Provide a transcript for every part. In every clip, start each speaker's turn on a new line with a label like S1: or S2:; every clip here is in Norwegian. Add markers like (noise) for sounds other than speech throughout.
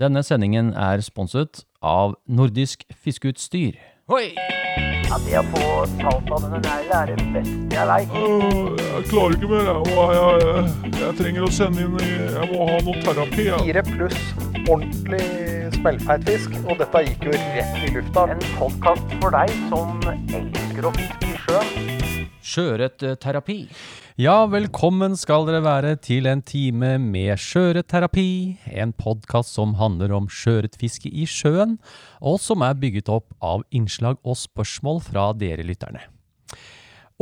S1: Denne sendingen er sponset av Nordisk Fiskeutstyr. Hoi!
S2: Det å få talt av denne negla er det beste jeg veit.
S3: Øh, Jeg klarer ikke mer. Jeg, Åh, jeg, jeg, jeg trenger å sende inn i, Jeg må ha noe terapi. Jeg.
S4: Fire pluss ordentlig smellfeit fisk, og dette gikk jo rett i lufta.
S2: En podkast for deg som elsker å fiske i sjøen.
S1: eh, Sjøørretterapi.
S5: Ja, velkommen skal dere være til en time med Sjøørretterapi. En podkast som handler om sjøørretfiske i sjøen, og som er bygget opp av innslag og spørsmål fra dere lytterne.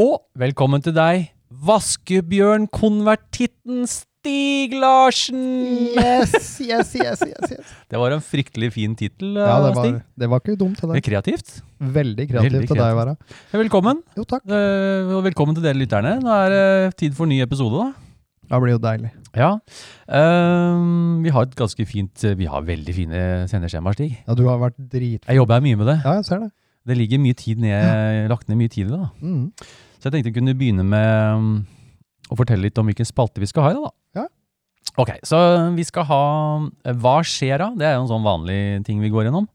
S5: Og velkommen til deg, vaskebjørnkonvertitten Stig Larsen!
S6: Yes, yes, yes, yes, yes.
S5: Det var en fryktelig fin tittel,
S6: Ja, det
S5: Stig.
S6: var, det var ikke dumt det
S5: Det
S6: der.
S5: er kreativt.
S6: Veldig kreativt
S5: Veldig
S6: av deg å være.
S5: Velkommen,
S6: Jo, takk.
S5: eh, og velkommen til dere lytterne. Nå er det tid for ny episode, da.
S6: Det blir jo deilig.
S5: Ja. ehm, vi har et ganske fint Vi har veldig fine sendeskjemaer, Stig.
S6: Ja, du har vært drit...
S5: Jeg jobber her mye med det.
S6: Ja, jeg ser det.
S5: Det ligger mye tid ned, lagt ned mye tid i det. da.
S6: Mm.
S5: Så jeg tenkte jeg kunne begynne med mm, å fortelle litt om hvilken spalte vi skal ha i dag, da.
S6: Ja.
S5: Ok, så vi skal ha eh, Hva skjer da? Det er jo en sånn vanlig ting vi går gjennom.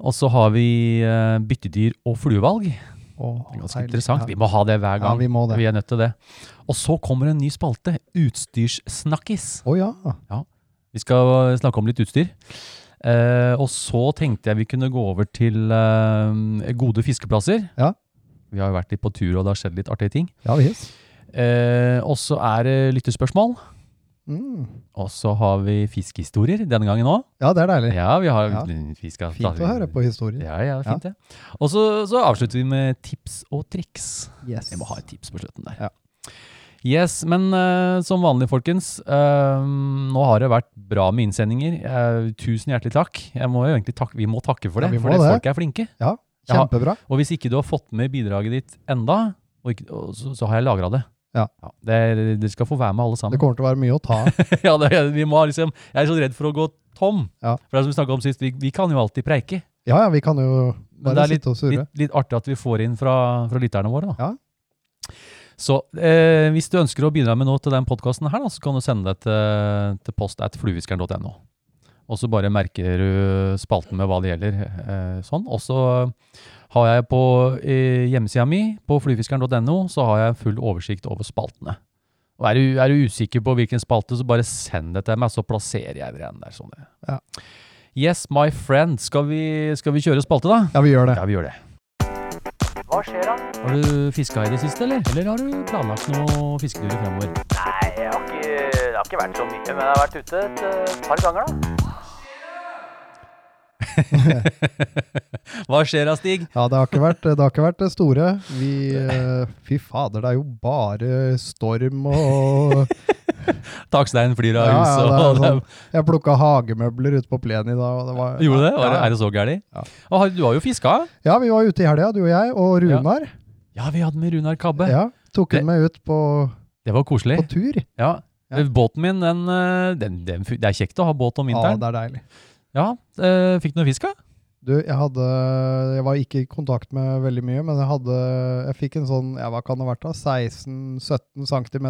S5: Og så har vi eh, byttedyr og fluevalg.
S6: Åh,
S5: Ganske
S6: deilig.
S5: interessant. Vi
S6: Ja.
S5: må ha det hver
S6: Ja,
S5: gang.
S6: vi må det.
S5: vi er nødt til det. Og så kommer en ny spalte, Utstyrssnakkis.
S6: Å ja.
S5: Vi skal snakke om litt utstyr. Eh, og så tenkte jeg vi kunne gå over til eh, gode fiskeplasser.
S6: Ja.
S5: Vi har jo vært litt på tur, og det har skjedd litt artige ting.
S6: Ja visst.
S5: Eh, og så er det lyttespørsmål.
S6: Mm.
S5: Og så har vi fiskehistorier denne gangen òg.
S6: Ja, det er deilig.
S5: Ja, vi har
S6: Ja.
S5: vi skal-
S6: Fint å høre på historien.
S5: Ja, ja, fint det. Og så, så avslutter vi med tips og triks.
S6: Yes.
S5: Jeg må ha et tips på slutten der.
S6: Ja.
S5: Yes, men eh, som vanlig, folkens. eh, nå har det vært bra med innsendinger. Eh, tusen hjertelig takk. Jeg må jo egentlig takke, vi må takke for
S6: Ja,
S5: det,
S6: vi må
S5: for det.
S6: det.
S5: folk er flinke.
S6: Ja, kjempebra.
S5: Og hvis ikke du har fått med bidraget ditt enda, og ikke, og så, så har jeg lagra det.
S6: Ja.
S5: det- Dere skal få være med alle
S6: Det
S5: sammen.
S6: kommer til å være mye å ta av.
S5: (laughs) ja, det, vi må ha liksom, jeg er så redd for å gå tom.
S6: Ja.
S5: For det er som vi snakket om sist, vi, vi kan jo alltid preike.
S6: Ja ja, vi kan jo
S5: Men det
S6: bare
S5: er litt,
S6: sitte og surre.
S5: litt, litt artig at vi får inn fra, fra lytterne våre. Da.
S6: Ja.
S5: Så eh, hvis du ønsker å bidra med noe til den podkasten her, da, så kan du sende det til, til post at flueviskeren.no. Og så bare merker du spalten med hva det gjelder. Eh, sånn. Og så har jeg på eh, hjemmesida mi, på fluefiskeren.no, så har jeg full oversikt over spaltene. Og er du, er du usikker på hvilken spalte, så bare send det til meg, så plasserer jeg det igjen der. Sånn.
S6: Ja.
S5: Yes, my friend. Skal vi, skal vi kjøre spalte, da?
S6: Ja, vi gjør det.
S5: Ja, vi gjør det.
S2: Hva skjer da?
S5: Har du fiska i det siste, eller? Eller har du planlagt noe fisketurer fremover?
S2: Nei, jeg har ikke, det har ikke vært så mye, men jeg har vært ute et eh, par ganger, da.
S5: (laughs) Hva skjer da, Stig?
S6: Ja, det har ikke vært det, har ikke vært det store. Vi
S5: (laughs)
S6: eh, Fy fader, det er jo bare storm og
S5: Takstein flyr av
S6: Ja, ja,
S5: huset.
S6: det er
S5: og det er-
S6: sånn. Jeg plukka hagemøbler ute på plenen i dag. Og det var,
S5: (laughs) Gjorde du det? Var, det-
S6: Ja,
S5: Er det så gærent?
S6: Ja.
S5: Og har- Du har jo fiska?
S6: Ja, vi var ute i helga, du og jeg, og
S5: Ja.
S6: Runar.
S5: Ja, vi hadde med Runar Kabbe.
S6: Ja. tok
S5: Det-
S6: hun med ut på,
S5: Det var
S6: på
S5: koselig.
S6: tur.
S5: Ja.
S6: Ja.
S5: Båten min, den, eh, den, den, fu- det er kjekt å ha båt om
S6: Ja,
S5: vinteren.
S6: det er deilig.
S5: Ja, eh, Fikk du noe fisk, da? (laughs)
S6: Du, jeg hadde Jeg var ikke i kontakt med veldig mye, men jeg hadde Jeg fikk en sånn, ja, hva kan det ha vært da? 16-17 cm.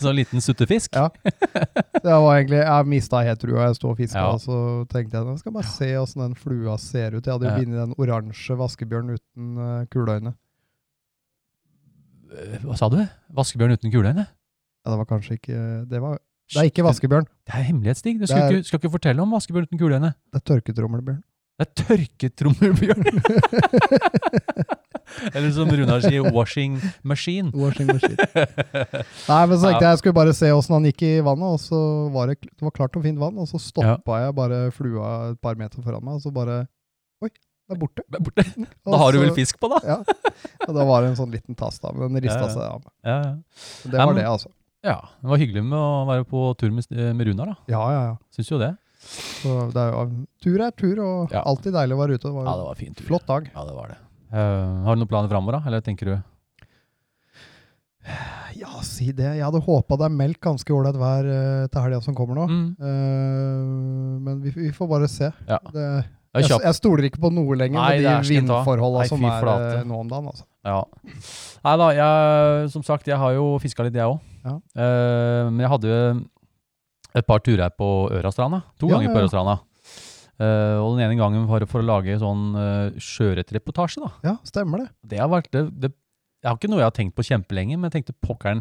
S5: Sånn liten suttefisk? (laughs)
S6: Ja. Det var egentlig Jeg mista helt trua, jeg sto og fiska,
S5: Ja.
S6: og så tenkte jeg nå skal jeg bare se åssen den flua ser ut. Jeg hadde jo
S5: Ja.
S6: bindet den oransje vaskebjørnen uten uh, kuleøyne.
S5: Eh, Hva sa du? Vaskebjørn uten kuleøyne?
S6: Ja, det var kanskje ikke Det, var, det er ikke vaskebjørn,
S5: Det er hemmelighet, Stig. Du skal,
S6: Det er-
S5: ikke, skal ikke fortelle om vaskebjørn uten kuleøyne.
S6: det er tørketrommelbjørn.
S5: Det er (laughs) tørketrommelbjørn. Eller som Runar sier, washing (laughs) machine.
S6: Washing machine. Nei, men så tenkte jeg jeg skulle bare se åssen han gikk i vannet, og så var det, kl- det var klart og fint vann, og så stoppa jeg bare flua et par meter foran meg, og så bare Oi, det er borte.
S5: Det er borte.
S6: Og
S5: Da har du
S6: så-
S5: vel fisk på, da?
S6: Ja. Og da var det en sånn liten tass, da, men den
S5: Ja,
S6: rista
S5: ja.
S6: seg av. meg.
S5: Ja,
S6: Så Det
S5: Ja,
S6: var
S5: men-
S6: det, altså.
S5: ja. Det var hyggelig med å være på tur med, eh, med Runar, da.
S6: Ja, ja, ja.
S5: Syns jo det.
S6: Så det er jo, um, tur er tur, og
S5: Ja.
S6: alltid deilig å være ute. Det var
S5: Ja,
S6: en
S5: det var fint.
S6: flott dag.
S5: Ja, det var det. Eh, har du noen planer framover, da? Eller tenker du
S6: Ja, si det. Jeg hadde håpa det er meldt ganske ålreit vær eh, til helga som kommer nå.
S5: mm.
S6: Eh, men vi, vi får bare se.
S5: Ja.
S6: Det,
S5: Det er
S6: Jeg,
S5: kjapt.
S6: jeg stoler ikke på noe lenger
S5: Nei,
S6: med
S5: det
S6: de
S5: er skint, da.
S6: vindforholda
S5: Nei,
S6: som
S5: fy
S6: er
S5: flate.
S6: eh, nå om dagen. Altså.
S5: Ja. Nei da, Eh, jeg, som sagt, jeg har jo fiska litt, jeg òg.
S6: Ja.
S5: men jeg hadde et par turer her på Ørastranda. To
S6: Ja,
S5: ganger på
S6: ja, ja.
S5: Ørastranda. Eh, og den ene gangen var det for å lage sånn uh, sjøørretreportasje, da.
S6: Ja, stemmer det.
S5: Det har vært det, det, det er jo ikke noe jeg har tenkt på kjempelenge, men jeg tenkte pokkeren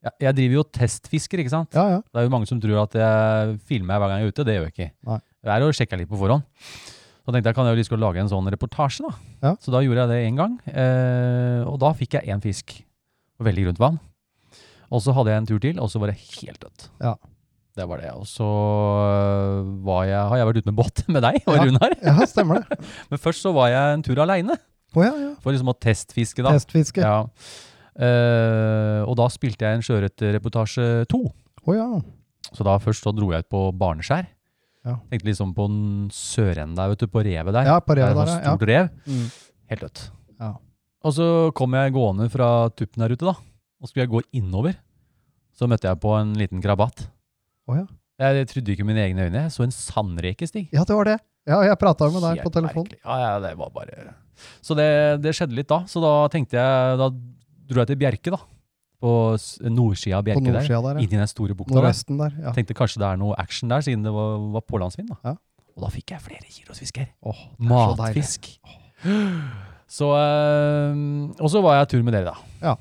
S5: jeg, jeg driver jo og testfisker, ikke sant?
S6: Ja, ja.
S5: Det er jo mange som tror at jeg filmer hver gang jeg er ute. Det gjør jeg ikke.
S6: Nei.
S5: Jeg er og sjekker litt på forhånd. Så tenkte jeg kan jeg jo lyst til å lage en sånn reportasje, da.
S6: Ja.
S5: Så da gjorde jeg det én gang. Eh, og da fikk jeg én fisk. Og veldig grunt vann. Og så hadde jeg en tur til, og så var det helt dødt.
S6: Ja.
S5: Det var det. Og så øh, var jeg, har jeg vært ute med båt med deg og
S6: Ja.
S5: Runar.
S6: Ja, (laughs) stemmer det.
S5: Men først så var jeg en tur aleine
S6: Å ja, ja.
S5: for liksom å testfiske, da.
S6: Testfiske. Å
S5: Ja. Eh, og da spilte jeg en sjøørretreportasje to.
S6: ja.
S5: Så da først så dro jeg ut på Barneskjær.
S6: Ja.
S5: Tenkte liksom på den sørenden der, vet du, på revet der.
S6: Ja, på revet
S5: det var
S6: der, ja.
S5: Stort rev.
S6: Mm.
S5: Helt dødt.
S6: Ja.
S5: Og så kom jeg gående fra tuppen der ute, da. Og skulle jeg gå innover, så møtte jeg på en liten krabat.
S6: Å ja.
S5: Jeg, jeg trodde ikke mine egne øyne. Jeg så en sandreke, Stig.
S6: ja, det var det. Ja, jeg prata med deg på
S5: Helt
S6: telefonen.
S5: merkelig. Ja, ja, det var bare Så det, det skjedde litt da. Så da tenkte jeg Da dro jeg til Bjerke, da. På s- nordsida av
S6: På
S5: Bjerke der.
S6: nordsida der, ja.
S5: Inni den store bukta der.
S6: Nordøsten der. Ja.
S5: Tenkte kanskje det er noe action der, siden det var, var pålandsvind. da.
S6: Ja.
S5: Og da fikk jeg flere kilos fisk her.
S6: Åh, så deilig.
S5: Matfisk. Så, eh, og så var jeg tur med dere, da.
S6: Ja.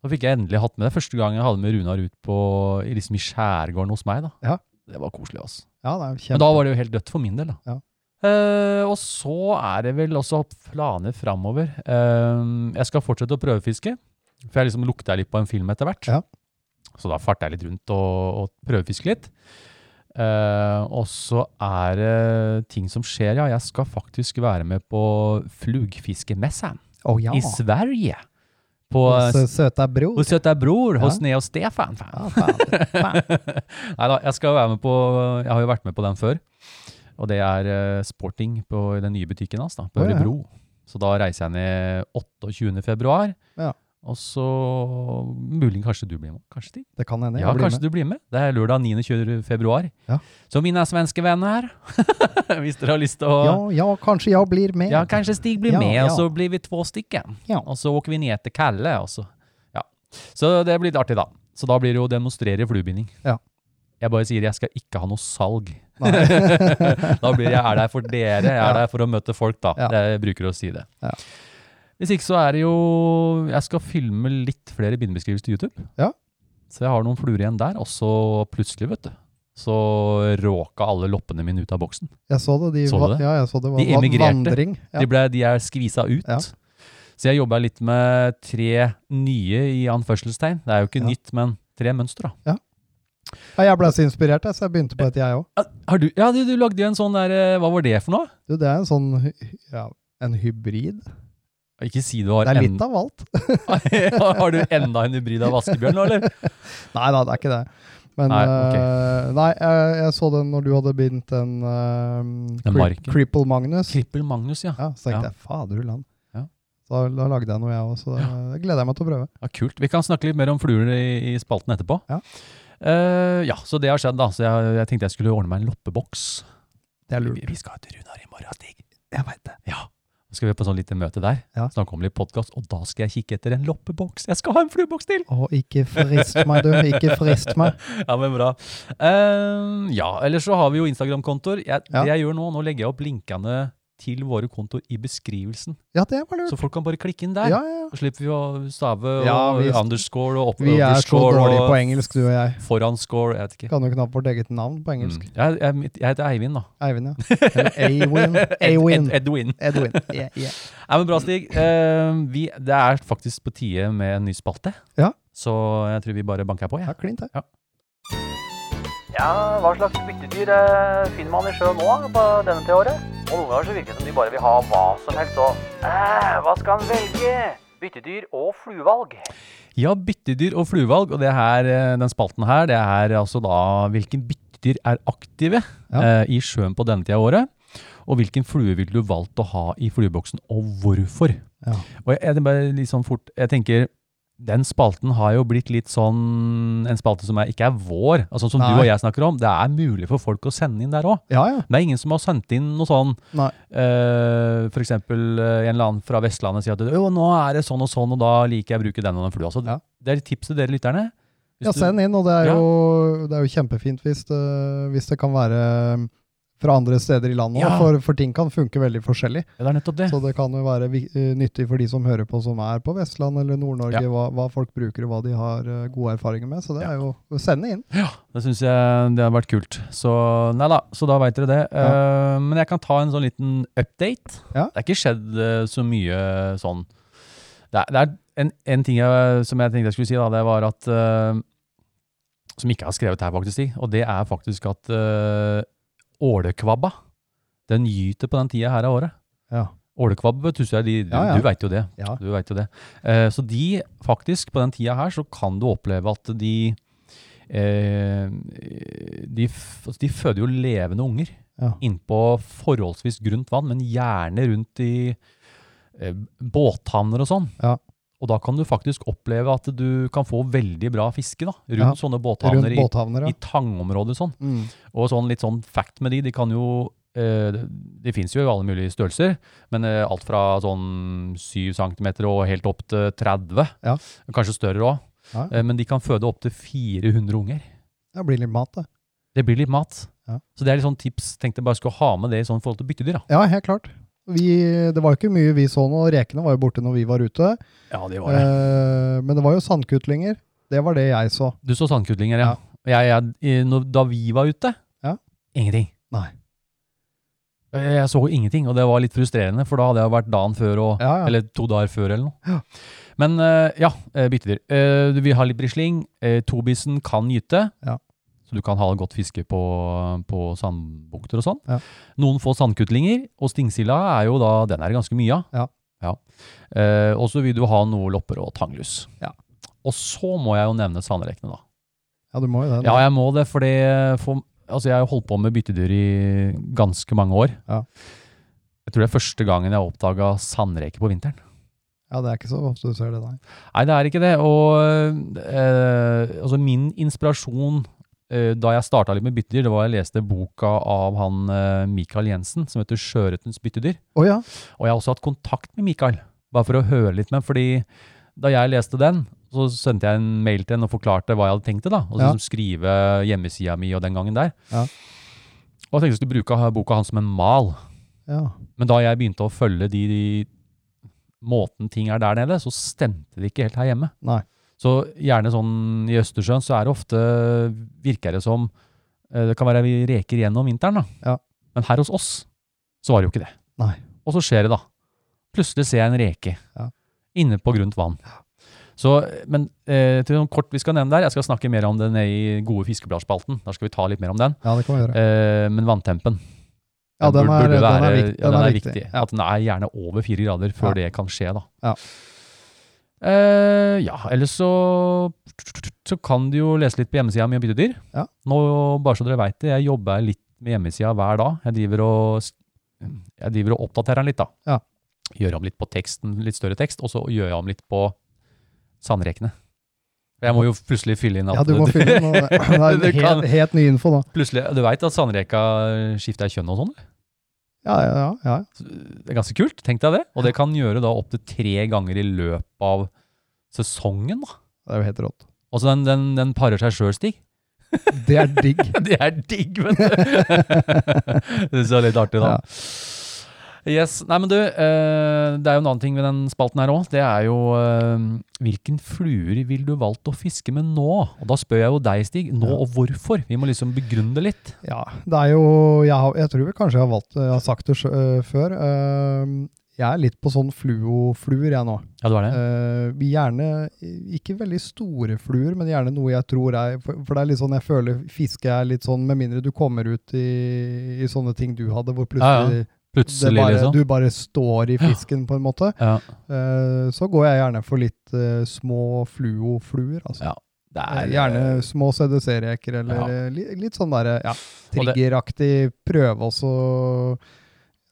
S5: Da fikk jeg endelig hatt med det. Første gang jeg hadde med Runar ut på, i liksom i skjærgården hos meg. da.
S6: Ja.
S5: Det var koselig. altså.
S6: Ja, det er jo
S5: Men
S6: kjempe...
S5: da var det jo helt dødt for min del. da.
S6: Ja.
S5: Eh, og så er det vel også planer framover. Eh, jeg skal fortsette å prøvefiske, for jeg liksom lukta litt på en film etter hvert.
S6: Ja.
S5: Så da farta jeg litt rundt og, og prøvefiske litt. Eh, og så er det ting som skjer, ja. Jeg skal faktisk være med på flugfiskemessa
S6: Å ja.
S5: i Sverige. På,
S6: Så søta bror.
S5: hos Söta Bror,
S6: Ja.
S5: hos Neo Stefan. Fan.
S6: Ja, fader.
S5: (laughs) Nei da, jeg skal være med på Jeg har jo vært med på den før. Og det er eh, sporting på den nye butikken hans, da, på
S6: Å, ja, ja.
S5: Ørebro. Så da reiser jeg ned 28. februar.
S6: Ja.
S5: Og så muligen kanskje du blir med. Kanskje de?
S6: Det kan hende.
S5: Ja,
S6: Jeg blir
S5: kanskje
S6: med.
S5: du blir med. Det er lørdag 29. februar.
S6: Ja.
S5: Så mine svenske venner, (laughs) hvis dere har lyst til å
S6: Ja, ja, kanskje jeg blir med.
S5: ja, kanskje Stig blir
S6: Ja,
S5: med, og
S6: ja.
S5: så blir vi to stykker.
S6: Ja.
S5: Og så åker vi ned til Kalle, og så Ja. Så det blir litt artig, da. Så da blir det jo å demonstrere fluebinding.
S6: Ja.
S5: Jeg bare sier jeg skal ikke ha noe salg. (laughs)
S6: Nei.
S5: Da blir jeg er der for dere, jeg er der for å møte folk, da.
S6: Ja.
S5: Jeg bruker å si det.
S6: Ja.
S5: Hvis ikke så er det jo Jeg skal filme litt flere bindebeskrivelser til YouTube.
S6: Ja.
S5: Så jeg har noen fluer igjen der, og så plutselig, vet du. Så råka alle loppene mine ut av boksen.
S6: Jeg så det. De,
S5: Så du
S6: va-
S5: det?
S6: Ja, jeg så det var
S5: De
S6: va-
S5: emigrerte.
S6: vandring. Ja.
S5: De, ble, de er skvisa ut.
S6: Ja.
S5: Så jeg jobba litt med tre nye i anførselstegn. Det er jo ikke
S6: Ja.
S5: nytt, men tre mønstre.
S6: Ja, jeg ble så inspirert, jeg, så jeg begynte på et, jeg òg.
S5: Ah, Har du, ja, du, du lagde jo en sånn der eh, Hva var det for noe?
S6: Du, det er en sånn hy- ja, en hybrid.
S5: Ikke si du har
S6: Det er
S5: en- (laughs)
S6: litt av alt.
S5: Har du enda en hybrid av vaskebjørn nå, eller?
S6: Nei da, det er ikke det. Men
S5: Nei, ok.
S6: eh, nei jeg, jeg så den når du hadde begynt en uh,
S5: Den marken.
S6: Cripple Magnus.
S5: Trippel Magnus, ja.
S6: Ja, så
S5: Ja.
S6: tenkte jeg faderullan.
S5: Ja.
S6: Da, da lagde jeg noe, jeg òg, så det det gleder jeg meg til å prøve.
S5: ja. Kult. Vi kan snakke litt mer om fluer i, i spalten etterpå.
S6: Ja.
S5: Eh, ja, så det har skjedd, da. Så jeg, jeg tenkte jeg skulle ordne meg en loppeboks.
S6: Det er
S5: Vi, vi skal til Runar i morgen, Stig.
S6: Jeg vet det.
S5: Ja. Så skal vi på sånn lite møte der,
S6: Ja.
S5: snakke om litt podkast, og da skal jeg kikke etter en loppeboks. Jeg skal ha en flueboks til!
S6: Å, ikke frist meg, du. Ikke frist meg.
S5: Ja, men bra. Ehm, ja, ellers så har vi jo Instagram-kontoer. Jeg, Det
S6: Ja.
S5: jeg gjør nå, nå legger jeg opp linkene til våre kontoer i beskrivelsen.
S6: Ja, det var lurt.
S5: Så folk kan bare klikke inn der.
S6: Ja, ja, ja.
S5: Så slipper vi å stave og
S6: Ja, vi-
S5: underscore og opp,
S6: Vi er så
S5: underscore
S6: dårlige
S5: og
S6: på engelsk, du og jeg.
S5: foranscore, jeg vet ikke.
S6: Kan jo knapt vårt eget navn på engelsk.
S5: Mm. Jeg, jeg, mitt- jeg heter Eivind, da.
S6: Eivind,
S5: (laughs)
S6: ja. Eller Eivind. Eivind.
S5: Ed, Ed, Edwin.
S6: Edwin. Yeah, yeah.
S5: Nei, men bra, Stig. Ehm, vi, det er faktisk på tide med en ny spalte.
S6: Ja.
S5: Så jeg tror vi bare banker på, jeg.
S6: Ja, klint, det.
S2: Ja, hva slags byttedyr eh, finner man i sjøen nå på denne til året? Og noen ganger så virker det som de bare vil ha hva som helst og eh, hva skal en velge? Byttedyr og fluevalg.
S5: Ja, byttedyr og fluevalg, og det her, eh, den spalten her, det er altså da hvilke byttedyr er aktive
S6: Ja.
S5: eh, i sjøen på denne tida av året, og hvilken flue ville du valgt å ha i flueboksen, og hvorfor?
S6: Ja.
S5: Og jeg, jeg, bare litt sånn fort, jeg tenker, den spalten har jo blitt litt sånn, en spalte som er, ikke er vår, altså som
S6: Nei.
S5: du og jeg snakker om, det er mulig for folk å sende inn der også.
S6: Ja, ja.
S5: Det er ingen som har sendt inn noe sånn
S6: Nei.
S5: eh, For eksempel eh, en eller annen fra Vestlandet sier at «Jo, nå er det sånn og sånn, og da liker jeg å bruke den og den flua. Så
S6: Ja.
S5: Det er et tips til dere lytterne. Hvis
S6: Ja,
S5: du-
S6: send inn, og det er
S5: Ja.
S6: jo, det er jo kjempefint hvis det, hvis det kan være mm, fra andre steder i landet òg,
S5: Ja.
S6: for, for ting kan funke veldig forskjellig.
S5: Ja, det er nettopp det.
S6: Så det kan jo være vi- eh, nyttig for de som hører på som er på Vestland eller Nord-Norge,
S5: Ja.
S6: hva, hva folk bruker og hva de har eh, gode erfaringer med. Så det
S5: Ja.
S6: er jo Send det inn.
S5: Det syns jeg det har vært kult. Så nei da, så da veit dere det. Eh, men jeg kan ta en sånn liten update.
S6: Ja.
S5: Det er ikke skjedd eh, så mye sånn Det er, det er en, en ting jeg, som jeg tenkte jeg skulle si, da, det var at eh, Som ikke er skrevet her, faktisk, i, og det er faktisk at eh, ålekvabba den gyter på den tida her av året.
S6: Ja.
S5: Ålekvabb, vet du, så er de, du,
S6: Ja, ja.
S5: du veit jo det.
S6: Ja.
S5: Du vet jo det. Eh, så de, faktisk, på den tida her, så kan du oppleve at de eh, de, f- altså, de føder jo levende unger
S6: Ja.
S5: innpå forholdsvis grunt vann, men gjerne rundt i eh, båthavner og sånn.
S6: Ja.
S5: Og da kan du faktisk oppleve at du kan få veldig bra fiske da, rundt
S6: Ja.
S5: sånne båthavner
S6: Rundt
S5: i,
S6: båthavner,
S5: i
S6: ja.
S5: tangområder og sånn.
S6: Mm.
S5: Og sånn litt sånn fact med de, de kan jo eh, De finnes jo i alle mulige størrelser, men eh, alt fra sånn 7 cm og helt opp til 30.
S6: Ja.
S5: Kanskje større òg.
S6: Ja.
S5: Men de kan føde opptil 400 unger.
S6: Det blir litt mat, det.
S5: Det blir litt mat.
S6: Ja.
S5: Så det er litt sånn tips. Tenkte jeg bare skulle ha med det i sånn forhold til byttedyr. da.
S6: Ja, helt klart. Vi, det var jo ikke mye vi så nå. Rekene var jo borte når vi var ute.
S5: Ja, det
S6: Eh, men det var jo sandkutlinger. Det var det jeg så.
S5: Du så sandkutlinger, ja. Jeg, jeg, i- når- da vi var ute
S6: Ja.
S5: ingenting.
S6: Nei.
S5: Jeg jeg så ingenting, og det var litt frustrerende, for da hadde jeg vært dagen før og
S6: Ja, ja.
S5: Eller to dager før, eller noe. Men eh, ja, eh, byttedyr. Eh, du vil ha litt brisling. Uh, Tobisen kan gyte.
S6: Ja.
S5: Så du kan ha godt fiske på, på sandbukter og sånn.
S6: Ja.
S5: Noen få sandkutlinger, og stingsilla er jo da, den er det ganske mye av.
S6: Ja.
S5: Eh, og så vil du ha noe lopper og tanglus.
S6: Ja.
S5: Og så må jeg jo nevne sandrekene, da.
S6: Ja, du må jo det.
S5: Ja, jeg må det, fordi for, altså jeg har holdt på med byttedyr i ganske mange år.
S6: Ja.
S5: Jeg tror det er første gangen jeg oppdaga sandreker på vinteren.
S6: Ja, det er ikke så ofte du ser det, nei.
S5: Nei, det er ikke det. Og eh, altså min inspirasjon eh, da jeg starta litt med byttedyr, det var jeg leste boka av han eh, Mikael Jensen som heter 'Sjøørretens byttedyr'.
S6: Å ja.
S5: Og jeg har også hatt kontakt med Mikael, bare for å høre litt med ham. Fordi da jeg leste den, så sendte jeg en mail til henne og forklarte hva jeg hadde tenkt til. da, Og så
S6: Ja.
S5: liksom skrive hjemmesida mi og den gangen der.
S6: Ja.
S5: Og jeg tenkte jeg skulle bruke ha- boka hans som en mal.
S6: ja.
S5: Men da jeg begynte å følge de, de måten ting er der nede, så stemte det ikke helt her hjemme.
S6: Nei.
S5: Så gjerne sånn i Østersjøen, så er det ofte, virker det som, eh, det kan være vi reker igjen om vinteren da.
S6: Ja.
S5: Men her hos oss, så var det jo ikke det.
S6: Nei.
S5: Og så skjer det da. Plutselig ser jeg en reke.
S6: Ja.
S5: Inne på grunt vann. Så, men eh, til noe kort vi skal nevne der, jeg skal snakke mer om den i gode fiskebladspalten. Der skal vi ta litt mer om den.
S6: Ja, det kan vi gjøre.
S5: Eh, men vanntempen.
S6: Ja, den
S5: bur-
S6: er-
S5: burde
S6: den er
S5: være-
S6: viktig.
S5: Ja, den er, viktig. At den er gjerne over fire grader før
S6: Ja.
S5: det kan skje, da.
S6: Ja.
S5: Eh, ja, ellers så, så kan du jo lese litt på hjemmesida mi om byttedyr.
S6: Ja.
S5: Nå, bare så dere veit det, jeg jobber litt med hjemmesida hver dag. Jeg driver og, s- jeg driver og oppdaterer den litt, da.
S6: Ja.
S5: Gjør om litt på teksten, litt større tekst, og så gjør jeg om litt på sandrekene. Jeg må jo plutselig fylle inn at
S6: Ja, du må fylle
S5: (laughs)
S6: (laughs) den. og Det det
S5: Du
S6: er
S5: kan-
S6: helt, helt ny info nå.
S5: Plutselig, Du veit at sandreka skifter kjønn og sånn?
S6: Ja, ja, ja, ja.
S5: Det er ganske kult, tenk deg det. Og det kan gjøre da opptil tre ganger i løpet av sesongen. da.
S6: Det er jo helt rått.
S5: Altså den, den, den parer seg sjøl, Stig.
S6: Det er digg.
S5: (laughs) Det er digg, vet du. (laughs) det syns jeg er litt artig, da.
S6: Ja.
S5: Yes, nei men du, eh, Det er jo en annen ting ved den spalten her òg. Det er jo eh, hvilken fluer vil du valgt å fiske med nå? Og Da spør jeg jo deg, Stig. Nå
S6: Ja.
S5: og hvorfor? Vi må liksom begrunne det litt.
S6: Ja, det er jo Jeg, har, jeg tror vel kanskje jeg har valgt Jeg har sagt det sjø- øh, før. Øhm, jeg er litt på sånn fluofluer, jeg nå.
S5: Ja, du er det?
S6: Øh, gjerne ikke veldig store fluer, men gjerne noe jeg tror er For, for det er litt sånn jeg føler fiske er litt sånn, med mindre du kommer ut i, i sånne ting du hadde, hvor
S5: Ja, ja.
S6: plutselig, det
S5: Plutselig,
S6: bare,
S5: liksom.
S6: du bare står i fisken, på en måte.
S5: Ja.
S6: Eh, så går jeg gjerne for litt eh, små fluofluer, altså.
S5: Ja, Det
S6: Eh,
S5: er
S6: Gjerne små CDC-reker, eller
S5: Ja.
S6: eh, li, litt sånn derre ja,
S5: Og det-
S6: triggeraktig prøve også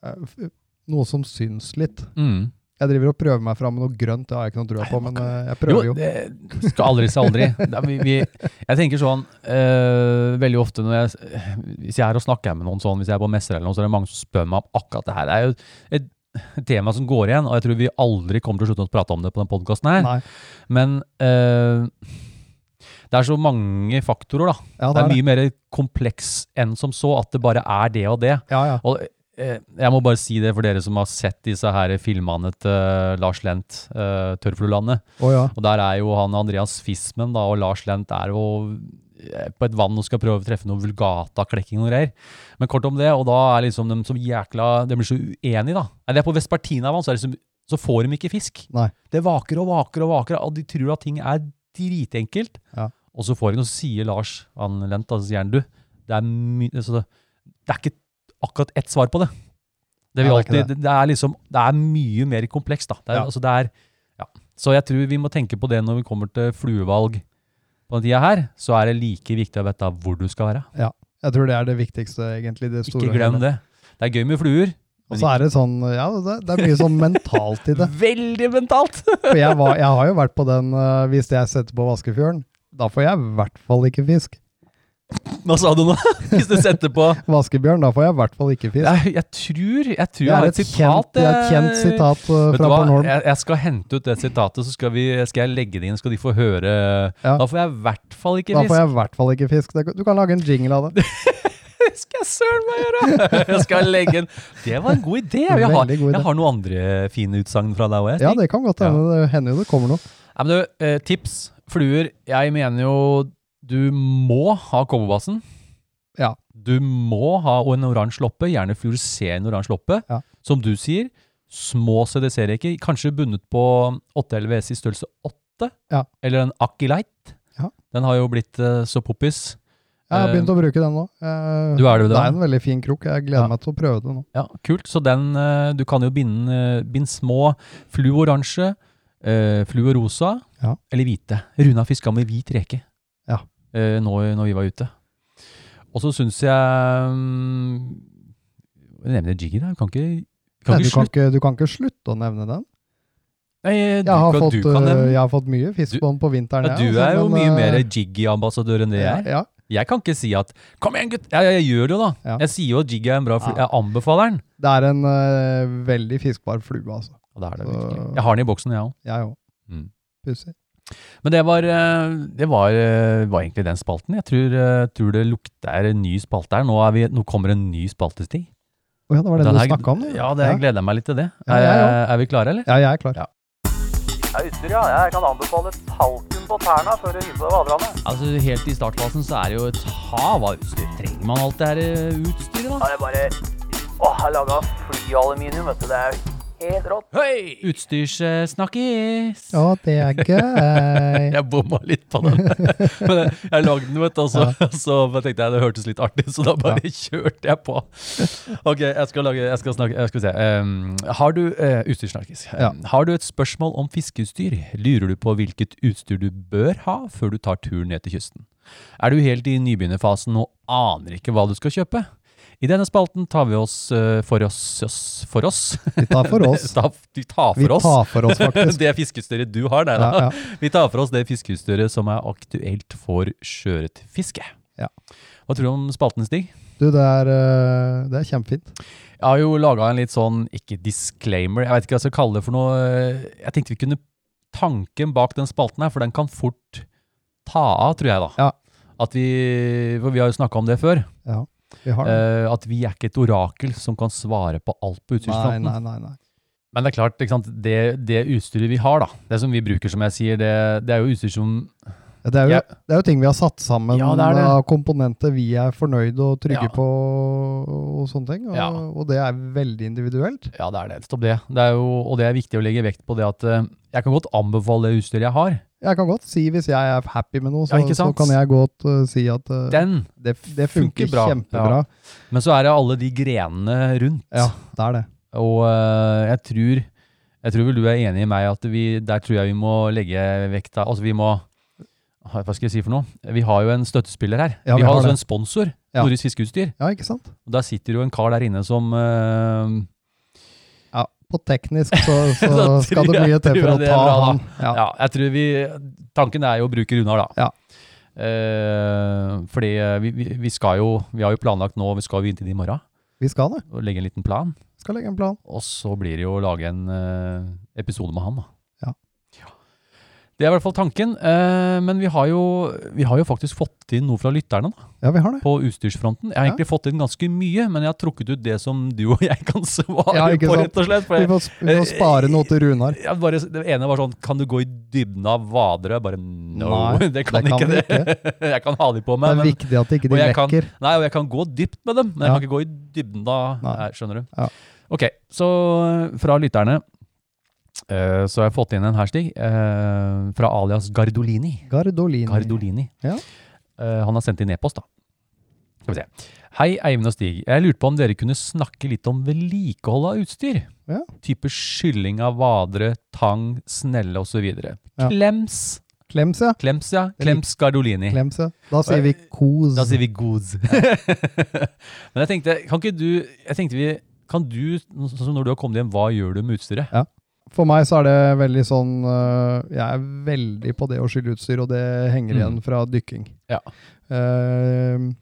S6: eh, f- Noe som syns litt.
S5: Mm.
S6: Jeg driver og prøver meg fram med noe grønt, det har jeg ikke noe trua på, men eh, jeg prøver jo.
S5: det skal aldri si aldri. Det er- vi, vi, jeg tenker sånn eh, veldig ofte når jeg, hvis jeg er og snakker med noen sånn, hvis jeg er på messer eller noe, så er det mange som spør meg om akkurat det her. Det er jo et, et tema som går igjen, og jeg tror vi aldri kommer til å slutte å prate om det på den podkasten her.
S6: Nei.
S5: Men eh, Det er så mange faktorer, da.
S6: Ja,
S5: Det er
S6: det.
S5: mye mer kompleks enn som så, at det bare er det og det.
S6: Ja, ja.
S5: Og eh, jeg må bare si det for dere som har sett disse her filmene til Lars Lent, eh, 'Tørrflulandet'.
S6: Å ja.
S5: Og der er jo han Andreas Fismen da, og Lars Lent er jo eh, på et vann og skal prøve å treffe noe vulgata-klekking og greier. Men kort om det, og da er liksom de som jækla De blir så uenige, da. Nei, det er på Vespertinavann, så, er det som- så får de ikke fisk.
S6: Nei.
S5: Det vaker og vaker og vaker, og de tror at ting er dritenkelt.
S6: Ja.
S5: Og så får de, og så sier Lars han Lent, altså sier han du, det er, my, altså, det er ikke akkurat ett svar på det. Det, vil
S6: Nei, det er
S5: alltid,
S6: ikke
S5: det. det er liksom, det er mye mer komplekst, da. Det er,
S6: Ja.
S5: altså, det er så jeg tror vi må tenke på det når vi kommer til fluevalg på den tida her. Så er det like viktig å vite hvor du skal være.
S6: Jeg tror det er det viktigste, egentlig. Det store.
S5: Ikke glem det. Det er gøy med fluer.
S6: Og så er det sånn Ja, det, det er mye sånn mentalt i det.
S5: Veldig mentalt! (laughs)
S6: For jeg, var, jeg har jo vært på den eh, Hvis jeg setter på vaskefjøren, da får jeg i hvert fall ikke fisk.
S5: Hva sa du nå? (laughs) Hvis du setter på
S6: Vaskebjørn, da får jeg i hvert fall ikke fisk.
S5: Jeg, jeg tror jeg tror
S6: Det
S5: jeg har et
S6: er et
S5: sitat.
S6: kjent, det er et kjent
S5: eh,
S6: sitat eh,
S5: Vet du
S6: fra
S5: hva?
S6: Bornholm.
S5: Jeg, jeg skal hente ut det sitatet, så skal, vi, skal jeg legge det inn. Skal de få høre
S6: Ja.
S5: Da får jeg i hvert fall ikke
S6: Da får
S5: fisk.
S6: jeg i hvert fall ikke fisk. Det- Du kan lage en jingle av det.
S5: Det skal jeg søren meg gjøre! (laughs) Jeg skal legge en Det var en god idé! Jeg har,
S6: Veldig god idé.
S5: jeg har noen andre fine utsagn fra deg òg.
S6: Ja, det kan godt hende. Det hender jo det kommer noe.
S5: Nei, men du, eh, tips. Fluer. Jeg mener jo du må ha kobberbassen.
S6: Ja.
S5: Du må ha en oransje loppe, gjerne fluorescerende oransje loppe.
S6: Ja.
S5: Som du sier, små CDC-reker, kanskje bundet på 8LVS i størrelse 8.
S6: Ja.
S5: Eller en Akilite.
S6: Ja.
S5: Den har jo blitt eh, så poppis.
S6: Jeg har
S5: Eh,
S6: begynt å bruke den nå. Eh,
S5: Du er det jo
S6: det
S5: da.
S6: er en veldig fin krok. Jeg gleder
S5: Ja.
S6: meg til å prøve det nå.
S5: Ja, kult. Så den, eh, du kan jo binde, eh, binde små fluoransje, eh, fluorosa,
S6: Ja.
S5: eller hvite. Runa fiska med hvit reke
S6: Ja.
S5: eh, nå, når vi var ute. Og så syns jeg mm, Jeg nevner Jiggy der. Du kan ikke, du kan
S6: Nei,
S5: ikke
S6: du, kan
S5: slutte.
S6: ikke, du kan ikke slutte å nevne den.
S5: Nei, eh, du,
S6: Jeg har,
S5: kan,
S6: fått,
S5: du kan
S6: øh,
S5: nevne
S6: jeg har fått mye fisk
S5: Du-
S6: på den på vinteren.
S5: ja,
S6: jeg,
S5: Du
S6: altså,
S5: er jo
S6: men,
S5: mye
S6: øh,
S5: mer Jiggy-ambassadør enn det jeg
S6: ja,
S5: er.
S6: ja.
S5: Jeg kan ikke si at 'kom igjen, gutt'. Jeg, jeg, jeg gjør det jo, da.
S6: Ja.
S5: Jeg sier jo at Jiggy er en bra fly. Jeg
S6: Ja.
S5: anbefaler den.
S6: Det er en øh, veldig fiskbar flue, altså.
S5: Og det er det
S6: Så-
S5: virkelig. Jeg har den i boksen, jeg òg.
S6: Jeg òg.
S5: Mm.
S6: Pussig.
S5: Men det var, eh, det var, eh, var egentlig den spalten. Jeg tror, eh, tror det lukter en ny spalte her. Nå, er vi, nå kommer en ny spaltestig.
S6: Å ja, det var det
S5: Den
S6: du
S5: her-
S6: snakka om? du.
S5: Ja, det, jeg
S6: ja.
S5: gleder jeg meg litt til det.
S6: Ja,
S5: er,
S6: jeg
S5: er vi klare, eller?
S6: ja, jeg er klar.
S5: Ja.
S2: Ja, utstyr, ja. Jeg kan anbefale talken på tærne før du hiver deg vaderne.
S1: Altså, Helt i startfasen så er det jo et hav av utstyr. Trenger man alt det her eh, utstyret, da?
S2: Ja, det er bare Åh, jeg laga flyaluminium, vet du. Det er helt rått.
S1: Utstyrssnakkis.
S6: Å, det er
S5: (laughs)
S6: gøy.
S5: Jeg bomma litt på
S6: (laughs)
S5: den. Men jeg- jeg lagde den, vet du. og Så, (laughs) så bare tenkte jeg det hørtes litt artig ut, så da bare kjørte jeg på. Ok, jeg skal lage Jeg skal snakke jeg skal se. Um, har du uh, utstyrssnarkis.
S6: Ja.
S5: Um, Har du et spørsmål om fiskeutstyr? Lurer du på hvilket utstyr du bør ha før du tar turen ned til kysten? Er du helt i nybegynnerfasen og aner ikke hva du skal kjøpe? I denne spalten tar vi oss eh, for oss, oss For oss?
S6: Vi tar for oss.
S5: (laughs) Ta, vi tar
S6: Vi
S5: for oss (laughs)
S6: tar for oss, faktisk.
S5: det fiskeutstyret du har, nei da.
S6: Ja, ja.
S5: Vi tar for oss det fiskeutstyret som er aktuelt for sjøørretfiske.
S6: Ja.
S5: Hva tror du om spalten, Stig?
S6: Du, det er, øh, det er kjempefint.
S5: Jeg har jo laga en litt sånn, ikke disclaimer, jeg vet ikke hva jeg skal kalle det for noe. Jeg tenkte vi kunne tanken bak den spalten her, for den kan fort ta av, tror jeg, da.
S6: Ja.
S5: At vi, for vi har jo snakka om det før,
S6: Ja, vi har det.
S5: eh, at vi er ikke et orakel som kan svare på alt på
S6: Nei,
S5: utstyrsfronten.
S6: nei, nei. nei.
S5: Men det er klart, ikke sant? Det, det utstyret vi har, da, det som vi bruker, som jeg sier, det, det er jo utstyr som
S6: Ja, Det er, jo,
S5: Ja.
S6: det er jo ting vi har satt sammen
S5: Ja, det er det.
S6: av komponenter vi er fornøyde og trygge
S5: Ja.
S6: på, og sånne ting. Og,
S5: Ja.
S6: og det er veldig individuelt.
S5: Ja, det er det. Stopp det. det er jo, og det er viktig å legge vekt på det at eh, jeg kan godt anbefale det utstyret jeg har.
S6: Jeg kan godt si hvis jeg er happy med noe,
S5: Ja,
S6: så,
S5: ikke
S6: så
S5: sant?
S6: kan jeg godt eh, si at eh,
S5: Den.
S6: det, det funker,
S5: funker bra.
S6: kjempebra.
S5: Men så er det alle de grenene rundt.
S6: Ja. det er det.
S5: Og eh, jeg tror jeg tror vel du er enig i meg at vi, der tror jeg vi må legge vekta Altså vi må Hva skal jeg si for noe? Vi har jo en støttespiller her.
S6: Ja,
S5: vi,
S6: vi
S5: har
S6: har
S5: altså
S6: det.
S5: en sponsor.
S6: Ja.
S5: Nordisk Fiskeutstyr.
S6: Ja, ikke sant?
S5: Og der sitter jo en kar der inne som eh,
S6: Ja, på teknisk så,
S5: (laughs)
S6: så
S5: Da
S6: skal
S5: tror
S6: det
S5: jeg-
S6: mye til
S5: tror
S6: for
S5: jeg
S6: å
S5: det er
S6: ta
S5: bra, da.
S6: han. Ja.
S5: Ja, jeg tror vi Tanken er jo å bruke Runar, da.
S6: Ja.
S5: Eh, fordi eh, vi, vi, vi skal jo Vi har jo planlagt nå, vi skal jo inn til det i morgen
S6: Vi skal det.
S5: og legge en liten plan.
S6: Skal legge en plan.
S5: Og så blir det jo å lage en eh, episode med han, da.
S6: Ja.
S5: Det er i hvert fall tanken. Eh, men vi har, jo, vi har jo faktisk fått inn noe fra lytterne da,
S6: Ja, vi har det.
S5: på utstyrsfronten. Jeg har
S6: Ja.
S5: egentlig fått inn ganske mye, men jeg har trukket ut det som du og jeg kan svare
S6: Ja, ikke
S5: på,
S6: sant.
S5: rett og slett. For
S6: Vi
S5: jeg,
S6: får, vi får spare noe til
S5: (laughs)
S6: Runar.
S5: jeg bare, det ene var sånn Kan du gå i dybden av vadere? Jeg Bare no,
S6: Nei,
S5: (laughs) det kan,
S6: det kan
S5: ikke
S6: vi
S5: det. (laughs) jeg kan ha de på
S6: Det
S5: meg.
S6: er
S5: Men,
S6: viktig at ikke de
S5: og jeg kan-
S6: lekker.
S5: nei, og jeg kan gå dypt med dem, men jeg
S6: Ja.
S5: kan ikke gå i dybden av
S6: Nei.
S5: Nei, Skjønner du?
S6: Ja.
S5: Ok, så eh, fra lytterne eh, så har jeg fått inn en hashtag eh, fra alias Gardolini.
S6: Gardolini.
S5: Gardolini.
S6: Ja.
S5: Eh, han har sendt inn e-post, da. Skal vi se. Hei, Eivind og Stig. Jeg lurte på om dere kunne snakke litt om vedlikehold av utstyr.
S6: Ja.
S5: Type skylling av vadere, tang, snelle osv.
S6: Ja.
S5: Klems.
S6: Klems, ja.
S5: Klems, ja.
S6: Jeg
S5: Klems Gardolini.
S6: Klems, ja. Da sier vi kos.
S5: Da sier vi goods. (laughs) Men jeg tenkte, kan ikke du Jeg tenkte vi Kan du, sånn som når du har kommet hjem, hva gjør du med utstyret?
S6: For meg så er det veldig sånn øh, Jeg er veldig på det å skylle utstyr, og det henger
S5: Mm.
S6: igjen fra dykking.
S5: Ja.
S6: Ehm,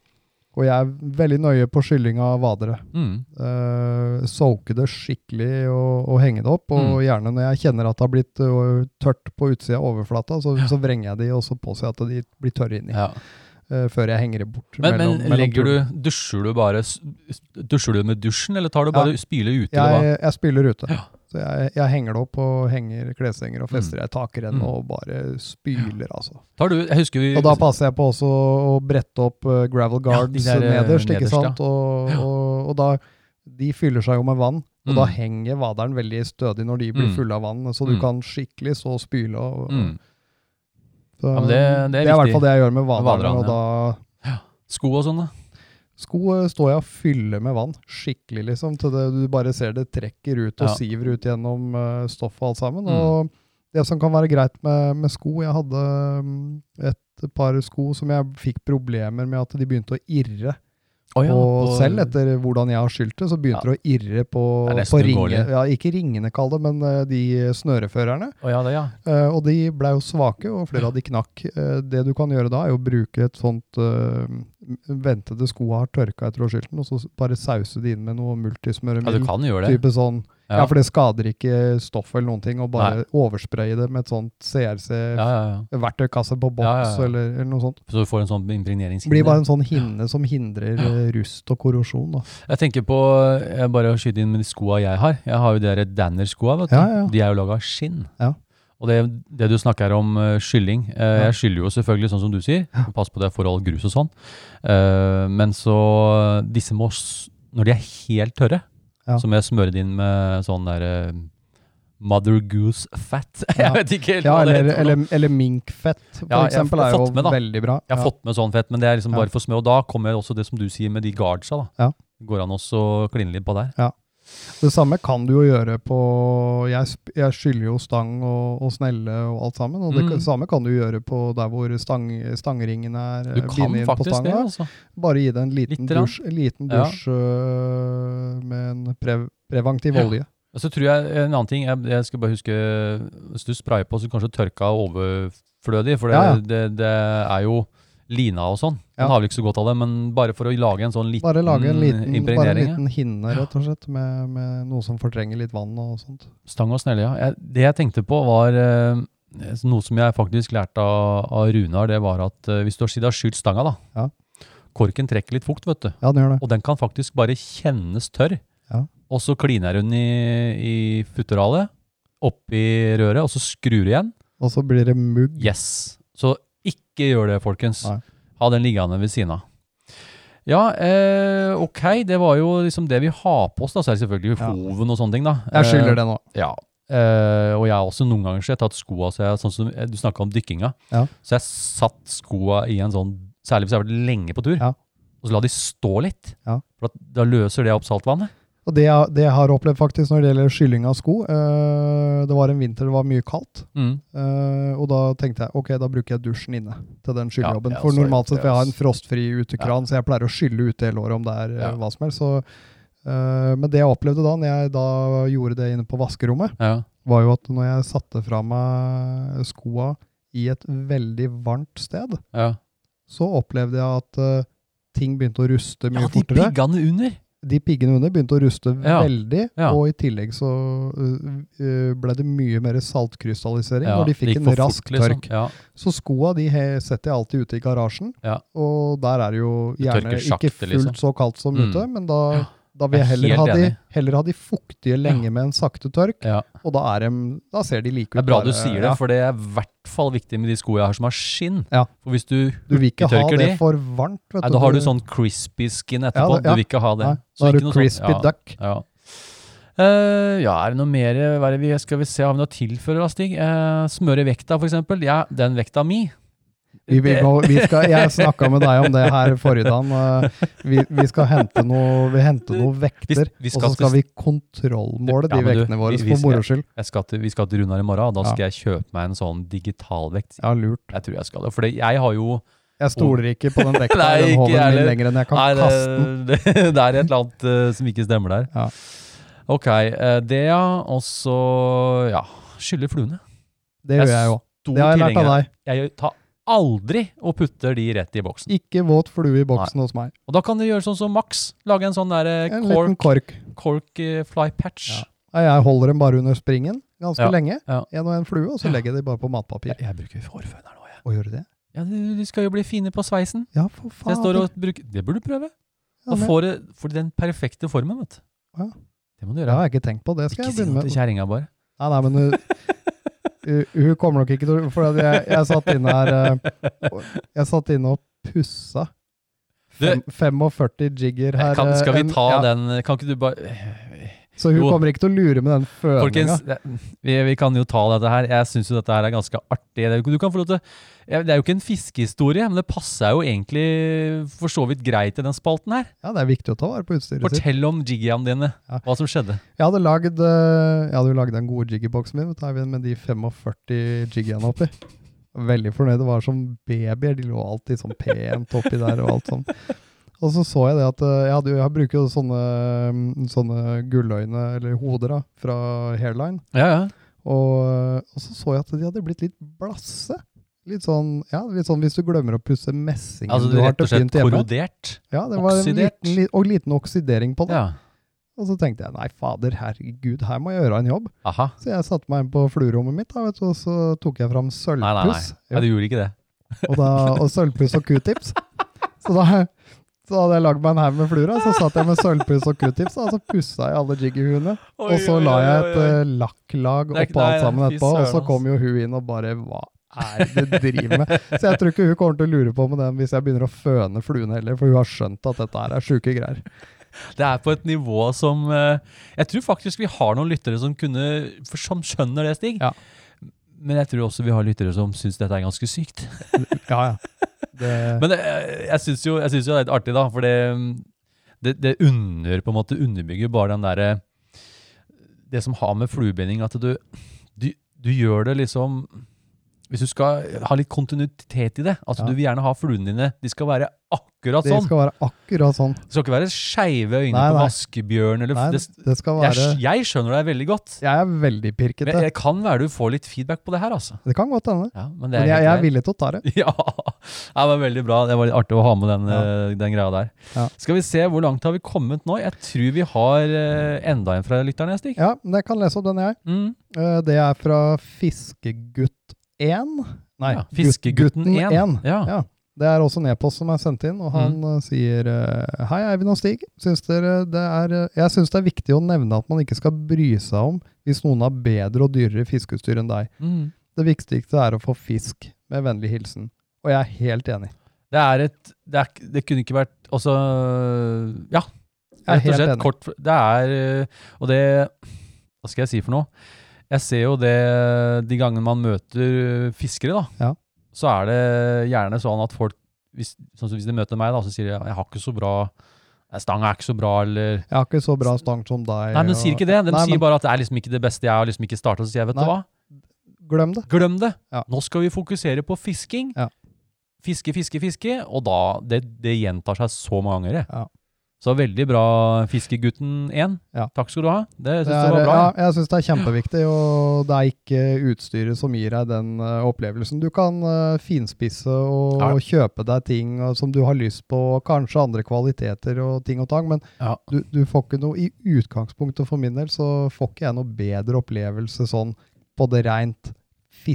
S6: og jeg er veldig nøye på skylling av vadere.
S5: Mm.
S6: Uh, soake det skikkelig og, og henge det opp. Og
S5: Mm.
S6: gjerne når jeg kjenner at det har blitt øh, tørt på utsida av overflata, så, så vrenger jeg de og så påser jeg at de blir tørre inni.
S5: Ja.
S6: øh, før jeg henger det bort.
S5: Men,
S6: mellom-
S5: men
S6: mellom
S5: legger
S6: pulene.
S5: du Dusjer du bare s- Dusjer du med dusjen, eller tar du bare spyle ute? eller hva?
S6: Jeg, jeg spiller ute.
S5: Ja.
S6: Så jeg, jeg henger det opp og henger kleshenger og fester ei takrenn
S5: Mm.
S6: og bare spyler, altså.
S5: Tar du, jeg husker vi
S6: Og da passer jeg på også å brette opp eh,
S5: Ja,
S6: gravel
S5: de
S6: guards
S5: der, eh,
S6: nederst, ikke
S5: nederst,
S6: sant? Og, og, og da De fyller seg jo med vann, og
S5: Mm.
S6: da henger vaderen veldig stødig når de blir
S5: Mm.
S6: fulle av vann, så du
S5: Mm.
S6: kan skikkelig så spyle og, og
S5: mm.
S6: så,
S5: Ja, men det- det er
S6: det er i
S5: viktig.
S6: hvert fall det jeg gjør med vaderne,
S5: vaderne,
S6: og da
S5: Sko og sånn, da.
S6: Sko eh, står jeg og fyller med vann, skikkelig liksom, til det, du bare ser det trekker ut og
S5: Ja.
S6: siver ut gjennom eh, stoffet og alt sammen.
S5: Mm.
S6: Og det som kan være greit med, med sko, jeg hadde mm, et par sko som jeg fikk problemer med at de begynte å irre.
S5: Å ja,
S6: og
S5: på-
S6: selv etter hvordan jeg har skylt det, så begynte det å irre
S5: Det
S6: på,
S5: er
S6: på
S5: nesten
S6: ringe,
S5: uunngåelig.
S6: ja, ikke ringene kall det, men eh, de snøreførerne.
S5: Å ja, det, ja.
S6: Eh, og de ble jo svake, og flere av de knakk. Eh, det du kan gjøre da, er jo å bruke et sånt eh, Vente til skoa har tørka etter årskilten, og så s- bare sause det inn med
S5: ja,
S6: noe
S5: du
S6: multismøremiddel.
S5: kan gjøre det.
S6: type sånn. ja. for det skader ikke stoffet eller noen ting, og bare overspraye det med et sånnt
S5: ja, ja, ja.
S6: CRC-verktøykasse på boks
S5: Ja, ja, ja.
S6: Eller, eller noe sånt.
S5: Så du får en sånn
S6: Det
S5: impregneringshinder.
S6: blir bare en sånn hinne som hindrer eh, rust og korrosjon.
S5: (laughs)
S6: Da.
S5: Jeg tenker på jeg bare å skyte inn med de skoa jeg har. Jeg har jo de der Danner-skoa. vet du.
S6: Ja, ja.
S5: De er jo laga av skinn.
S6: Ja.
S5: Og det, det du snakker om eh, skylling eh,
S6: Ja.
S5: Jeg skyller jo selvfølgelig, sånn som du sier. Pass på det for all grus og sånn. Eh, men så Disse må s- Når de er helt tørre,
S6: Ja.
S5: så må jeg smøre det inn med sånn der eh, Mother goose fat. (laughs) Jeg
S6: Ja.
S5: vet ikke helt
S6: Ja,
S5: hva det
S6: eller,
S5: heter. for noe.
S6: eller, eller minkfett, for
S5: Ja, jeg har
S6: eksempel, er jo
S5: fått med, da.
S6: veldig bra.
S5: Jeg har
S6: Ja.
S5: fått med sånn fett, men det er liksom
S6: Ja.
S5: bare for smør. Og da kommer også det som du sier med de guardsa. da.
S6: Ja.
S5: Går an også å kline litt på der.
S6: Det samme kan du jo gjøre på Jeg, sp- jeg skyller jo stang og, og snelle og alt sammen. Og det
S5: Mm.
S6: kan- samme kan du gjøre på der hvor stang, stangringen er.
S5: Du
S6: eh,
S5: kan
S6: bindet inn på
S5: faktisk det.
S6: stanga.
S5: altså.
S6: Bare gi det en liten
S5: Litt grann.
S6: dusj, en liten
S5: Ja.
S6: dusj øh, med en prev, preventiv
S5: Ja.
S6: olje.
S5: Og så tror jeg en annen ting, jeg, jeg skal bare huske, hvis du sprayer på, så kanskje tørka overflødig, for det,
S6: Ja, ja.
S5: det, det er jo lina og sånn. Den
S6: Ja.
S5: har vel ikke så godt av det, men bare for å lage en sånn liten,
S6: Bare lage en liten, bare en
S5: impregnering. ja.
S6: liten hinne, rett og slett, med, med noe som fortrenger litt vann og sånt.
S5: Stang og snelle, ja. Jeg, det jeg tenkte på var, eh, noe som jeg faktisk lærte av, av Runar, det var at eh, hvis du har siden har skylt stanga da,
S6: Ja.
S5: korken trekker litt fukt, vet du.
S6: Ja, den gjør det.
S5: Og den kan faktisk bare kjennes tørr.
S6: Ja.
S5: Og så kliner hun i, i futteralet, opp i røret, og så skrur du igjen.
S6: Og så blir det mugg.
S5: Yes. Så ikke gjør det, folkens.
S6: Nei.
S5: Ha den liggende ved siden av. Ja, eh, ok. Det var jo liksom det vi har på oss. da, Så er det selvfølgelig
S6: Ja.
S5: hoven og sånne ting. da.
S6: Jeg skylder det nå.
S5: Ja. Eh, og jeg har også noen ganger sett at skoa så jeg, sånn som eh, Du snakka om dykkinga.
S6: Ja.
S5: Så jeg satt skoa i en sånn Særlig hvis jeg har vært lenge på tur.
S6: Ja.
S5: Og så la de stå litt.
S6: Ja.
S5: For at, da løser det opp saltvannet.
S6: Og det, jeg- det jeg har opplevd faktisk når det gjelder skylling av sko øh, Det var en vinter det var mye kaldt.
S5: Mm.
S6: Eh, og da tenkte jeg ok, da bruker jeg dusjen inne til den skyllejobben.
S5: Ja, jeg
S6: For
S5: også har
S6: normalt
S5: gjort
S6: sett
S5: det,
S6: får jeg ha en
S5: ass.
S6: frostfri utekran, så jeg pleier å skylle ute hele året om det er eh,
S5: Ja.
S6: hva som helst. Så, eh, men det jeg opplevde da når jeg da gjorde det inne på vaskerommet,
S5: Ja.
S6: var jo at når jeg satte fra meg skoa i et veldig varmt sted,
S5: Ja.
S6: så opplevde jeg at eh, ting begynte å ruste mye
S5: ja, de
S6: fortere.
S5: piggene under!
S6: de piggene under begynte å ruste
S5: Ja.
S6: veldig,
S5: Ja.
S6: og i tillegg så øh, øh, ble det mye mer saltkrystallisering
S5: Ja,
S6: når de
S5: det
S6: fikk
S5: gikk
S6: en
S5: for fort,
S6: rask
S5: liksom.
S6: tørk.
S5: Ja,
S6: Så skoa de he, setter jeg alltid ute i garasjen,
S5: Ja.
S6: og der er det jo gjerne
S5: tørker sakte,
S6: ikke fullt
S5: liksom.
S6: så kaldt som
S5: Mm.
S6: ute, men da,
S5: Ja.
S6: da vil
S5: Jeg
S6: jeg
S5: er
S6: heller
S5: helt
S6: ha, de,
S5: enig.
S6: heller ha de fuktige lenge med en sakte tørk,
S5: ja.
S6: og da, er dem- da ser de like ut.
S5: Det er bra
S6: bare-
S5: du sier det,
S6: ja.
S5: for det er i hvert fall viktig med de skoene jeg har som har skinn.
S6: Ja.
S5: For hvis du
S6: Du vil ikke ha
S5: hurtigtørker
S6: det
S5: de,
S6: for varmt. Vet
S5: nei,
S6: du,
S5: da har du
S6: du-
S5: sånn crispy skin etterpå.
S6: det-
S5: Du
S6: ja.
S5: vil ikke ha det.
S6: Nei,
S5: Så
S6: Da har
S5: ikke
S6: du
S5: noe sånn-
S6: crispy
S5: ja,
S6: duck.
S5: Ja. Eh, ja, er det noe mer hva er det vi, Skal vi se, har vi noe tilfører da, Stig? Eh, smøre vekta, for eksempel. Ja, den vekta mi.
S6: Vi, vi, må, vi skal,
S5: (laughs)
S6: jeg snakka med deg om det her forrige dagen. eh, Vi, vi skal hente noe, vi hente noe vekter,
S5: vi
S6: og
S5: skal
S6: så skal
S5: til-
S6: vi kontrollmåle de
S5: Ja, men du,
S6: vektene våre
S5: vi- vi
S6: for
S5: skal-
S6: moro skyld.
S5: Jeg skal til, vi skal til Runar i morgen, og da
S6: Ja.
S5: skal jeg kjøpe meg en sånn digitalvekt.
S6: Ja, lurt.
S5: Jeg tror jeg skal det. For det- jeg har jo
S6: Jeg stoler ikke på den
S5: (laughs)
S6: vekta
S5: Nei,
S6: i den
S5: ikke
S6: hoven
S5: jeg
S6: min
S5: heller.
S6: lenger enn jeg kan
S5: Nei, det,
S6: kaste
S5: (laughs)
S6: den.
S5: det, det er et eller annet eh, som ikke stemmer der.
S6: Ja.
S5: Ok, eh, det ja. Og så ja, skylle fluene.
S6: Det gjør jeg jo. Det har jeg lært av deg.
S5: Jeg tar aldri og putter de rett i boksen.
S6: Ikke våt flue i boksen hos meg.
S5: Og da kan du gjøre sånn som Max. Lage en sånn der eh,
S6: En liten
S5: cork,
S6: kork.
S5: cork eh, fly patch.
S6: Ja. Nei, Jeg holder dem bare under springen ganske
S5: Ja,
S6: lenge.
S5: ja.
S6: En og en flue, og så legger jeg dem bare på matpapir.
S5: Jeg, jeg bruker hårføner nå, jeg.
S6: Og gjør du det?
S5: Ja, du, du skal jo bli fine på sveisen.
S6: Ja, for faen.
S5: Så jeg står og bruker Det burde du prøve.
S6: Ah, Ja,
S5: Da
S6: men-
S5: får du får du den perfekte formen, vet du.
S6: Ja.
S5: Det må du
S6: Det har
S5: gjøre.
S6: jeg ikke tenkt på. Det skal
S5: Ikke
S6: jeg
S5: si
S6: begynne
S5: noe
S6: med.
S5: til kjerringa, bare.
S6: Nei, nei, men
S5: (laughs)
S6: hun, hun- hun kommer nok ikke til å For at jeg, jeg satt inne her eh, og- Jeg satt inne og pussa.
S5: Du-
S6: Fem, 45 jigger her.
S5: Kan,
S6: eh,
S5: skal vi
S6: en-
S5: ta
S6: ja,
S5: den Kan ikke du bare
S6: Så hun
S5: jo.
S6: kommer ikke til å lure med den følinga.
S5: Folkens, det- vi, vi kan jo ta dette her. Jeg syns jo dette her er ganske artig. Det- Du kan få lov til jeg- Det er jo ikke en fiskehistorie, men det passer jo egentlig for så vidt greit i den spalten her.
S6: Ja, det er viktig å ta vare på utstyret sitt.
S5: Fortell om jiggyene dine.
S6: Ja.
S5: Hva som skjedde.
S6: Jeg hadde lagd eh, Jeg hadde jo lagd den gode jiggerboksen min vet du, Eivind, med de 45 jiggyene oppi. Veldig fornøyd. Det var som babyer. De lå alltid sånn pent oppi der og alt sånn. Og så så jeg det at eh, jeg, hadde, jo- jeg bruker jo sånne, mm, sånne gulløyne, eller hoder, da, fra Hairline.
S5: Ja, ja.
S6: Og, eh, og så så jeg at de hadde blitt litt blasse. Litt sånn, ja, litt sånn hvis du glemmer å pusse messingen
S5: Altså
S6: du har
S5: rett
S6: til
S5: og slett
S6: pynt hjemme.
S5: korrodert.
S6: Ja, det var en
S5: oksidert.
S6: liten, li- og liten oksidering på det.
S5: Ja.
S6: Og så tenkte jeg nei, fader, herregud, her må jeg gjøre en jobb.
S5: Aha.
S6: Så jeg satte meg inn på fluerommet mitt, da, vet du, og så tok jeg fram
S5: Nei, nei, nei.
S6: sølvpuss.
S5: Nei, du gjorde ikke det.
S6: og, da, og sølvpuss og q-tips. Så da så hadde jeg lagd meg en haug med fluer, da, så satt jeg med sølvpuss og q-tips, da, og så pussa jeg alle jiggyhuene. Og så la jeg et eh, lakklag
S5: Det er ikke-
S6: oppå alt
S5: nei,
S6: sammen
S5: fy
S6: etterpå, og så
S5: søren,
S6: kom jo hun inn og bare Hva er det du driver med? Så jeg tror ikke hun kommer til å lure på med den hvis jeg begynner å føne fluene heller, for hun har skjønt at dette her er sjuke greier.
S5: Det er på et nivå som eh, Jeg tror faktisk vi har noen lyttere som, kunne, for, som skjønner det, Stig.
S6: Ja.
S5: Men jeg tror også vi har lyttere som syns dette er ganske sykt.
S6: Ja, ja. Det,
S5: Men det, jeg syns jo, jeg synes jo det er litt artig, da. For det, det, det under, på en måte, underbygger bare den derre Det som har med fluebinding at du, du, du gjør det liksom Hvis du skal ha litt kontinuitet i det Altså
S6: Ja.
S5: Du vil gjerne ha fluene dine De skal være akkurat
S6: det
S5: sånn.
S6: skal være akkurat sånn.
S5: Det skal ikke være skeive øyne
S6: Nei,
S5: på
S6: nei.
S5: vaskebjørn eller
S6: Nei,
S5: det,
S6: det skal være eh.
S5: jeg, jeg skjønner deg veldig godt.
S6: Jeg er veldig
S5: Men
S6: pirkete.
S5: jeg kan være du får litt feedback på det her, altså.
S6: Det kan godt hende.
S5: Ja, men det
S6: Men
S5: er
S6: jeg, jeg
S5: helt
S6: er
S5: greit.
S6: villig til å ta det.
S5: (laughs) Ja, det var veldig bra. Det var litt artig å ha med den, eh, den greia der.
S6: Ja.
S5: Skal vi se, hvor langt har vi kommet nå? Jeg tror vi har eh, enda en fra lytteren, jeg, Stig.
S6: Ja, men jeg kan lese opp den, jeg.
S5: Mm.
S6: Eh, Det er fra Fiskegutt 1. Nei,
S5: Ja, Fiskegutten 1. Ja.
S6: Ja. Det er også en e-post som er sendt inn, og han
S5: Mm.
S6: eh, sier eh, Hei, Eivind og Stig. Syns dere det er, eh, jeg syns det er viktig å nevne at man ikke skal bry seg om hvis noen har bedre og dyrere fiskeutstyr enn deg.
S5: Mm.
S6: Det viktigste er å få fisk. Med vennlig hilsen. Og jeg er helt enig.
S5: Det er et det, er, ikke- det kunne ikke vært Altså Ja, rett
S6: Jeg er
S5: og
S6: helt
S5: slett.
S6: enig.
S5: Kort Det er eh, Og det Hva skal jeg si for noe? Jeg ser jo det de gangene man møter eh, fiskere, da.
S6: Ja.
S5: Så er det gjerne sånn at folk hvis, sånn som hvis de møter meg, da, så sier de jeg har ikke så bra Stanga er ikke så bra, eller
S6: Jeg har ikke så bra stang som deg.
S5: Nei, men de
S6: og-
S5: sier ikke det. De
S6: Nei,
S5: sier
S6: men-
S5: bare at det er liksom ikke det beste. Jeg har liksom ikke starta. Så sier jeg, vet
S6: Nei.
S5: du hva,
S6: Glem det.
S5: glem det.
S6: Ja.
S5: Nå skal vi fokusere på fisking.
S6: Ja.
S5: Fiske, fiske, fiske. Og da Det, det gjentar seg så mange ganger. jeg.
S6: Ja.
S5: Så veldig bra, Fiskegutten 1.
S6: Ja.
S5: Takk skal du ha. Det syns
S6: Det
S5: jeg
S6: er,
S5: var bra.
S6: ja, jeg syns det er kjempeviktig, og det er ikke utstyret som gir deg den eh, opplevelsen. Du kan eh, finspisse og,
S5: Ja.
S6: og kjøpe deg ting eh, som du har lyst på, og kanskje andre kvaliteter og ting og tang, men
S5: Ja.
S6: du, du får ikke noe I utgangspunktet for min del så får ikke jeg noe bedre opplevelse sånn på det rent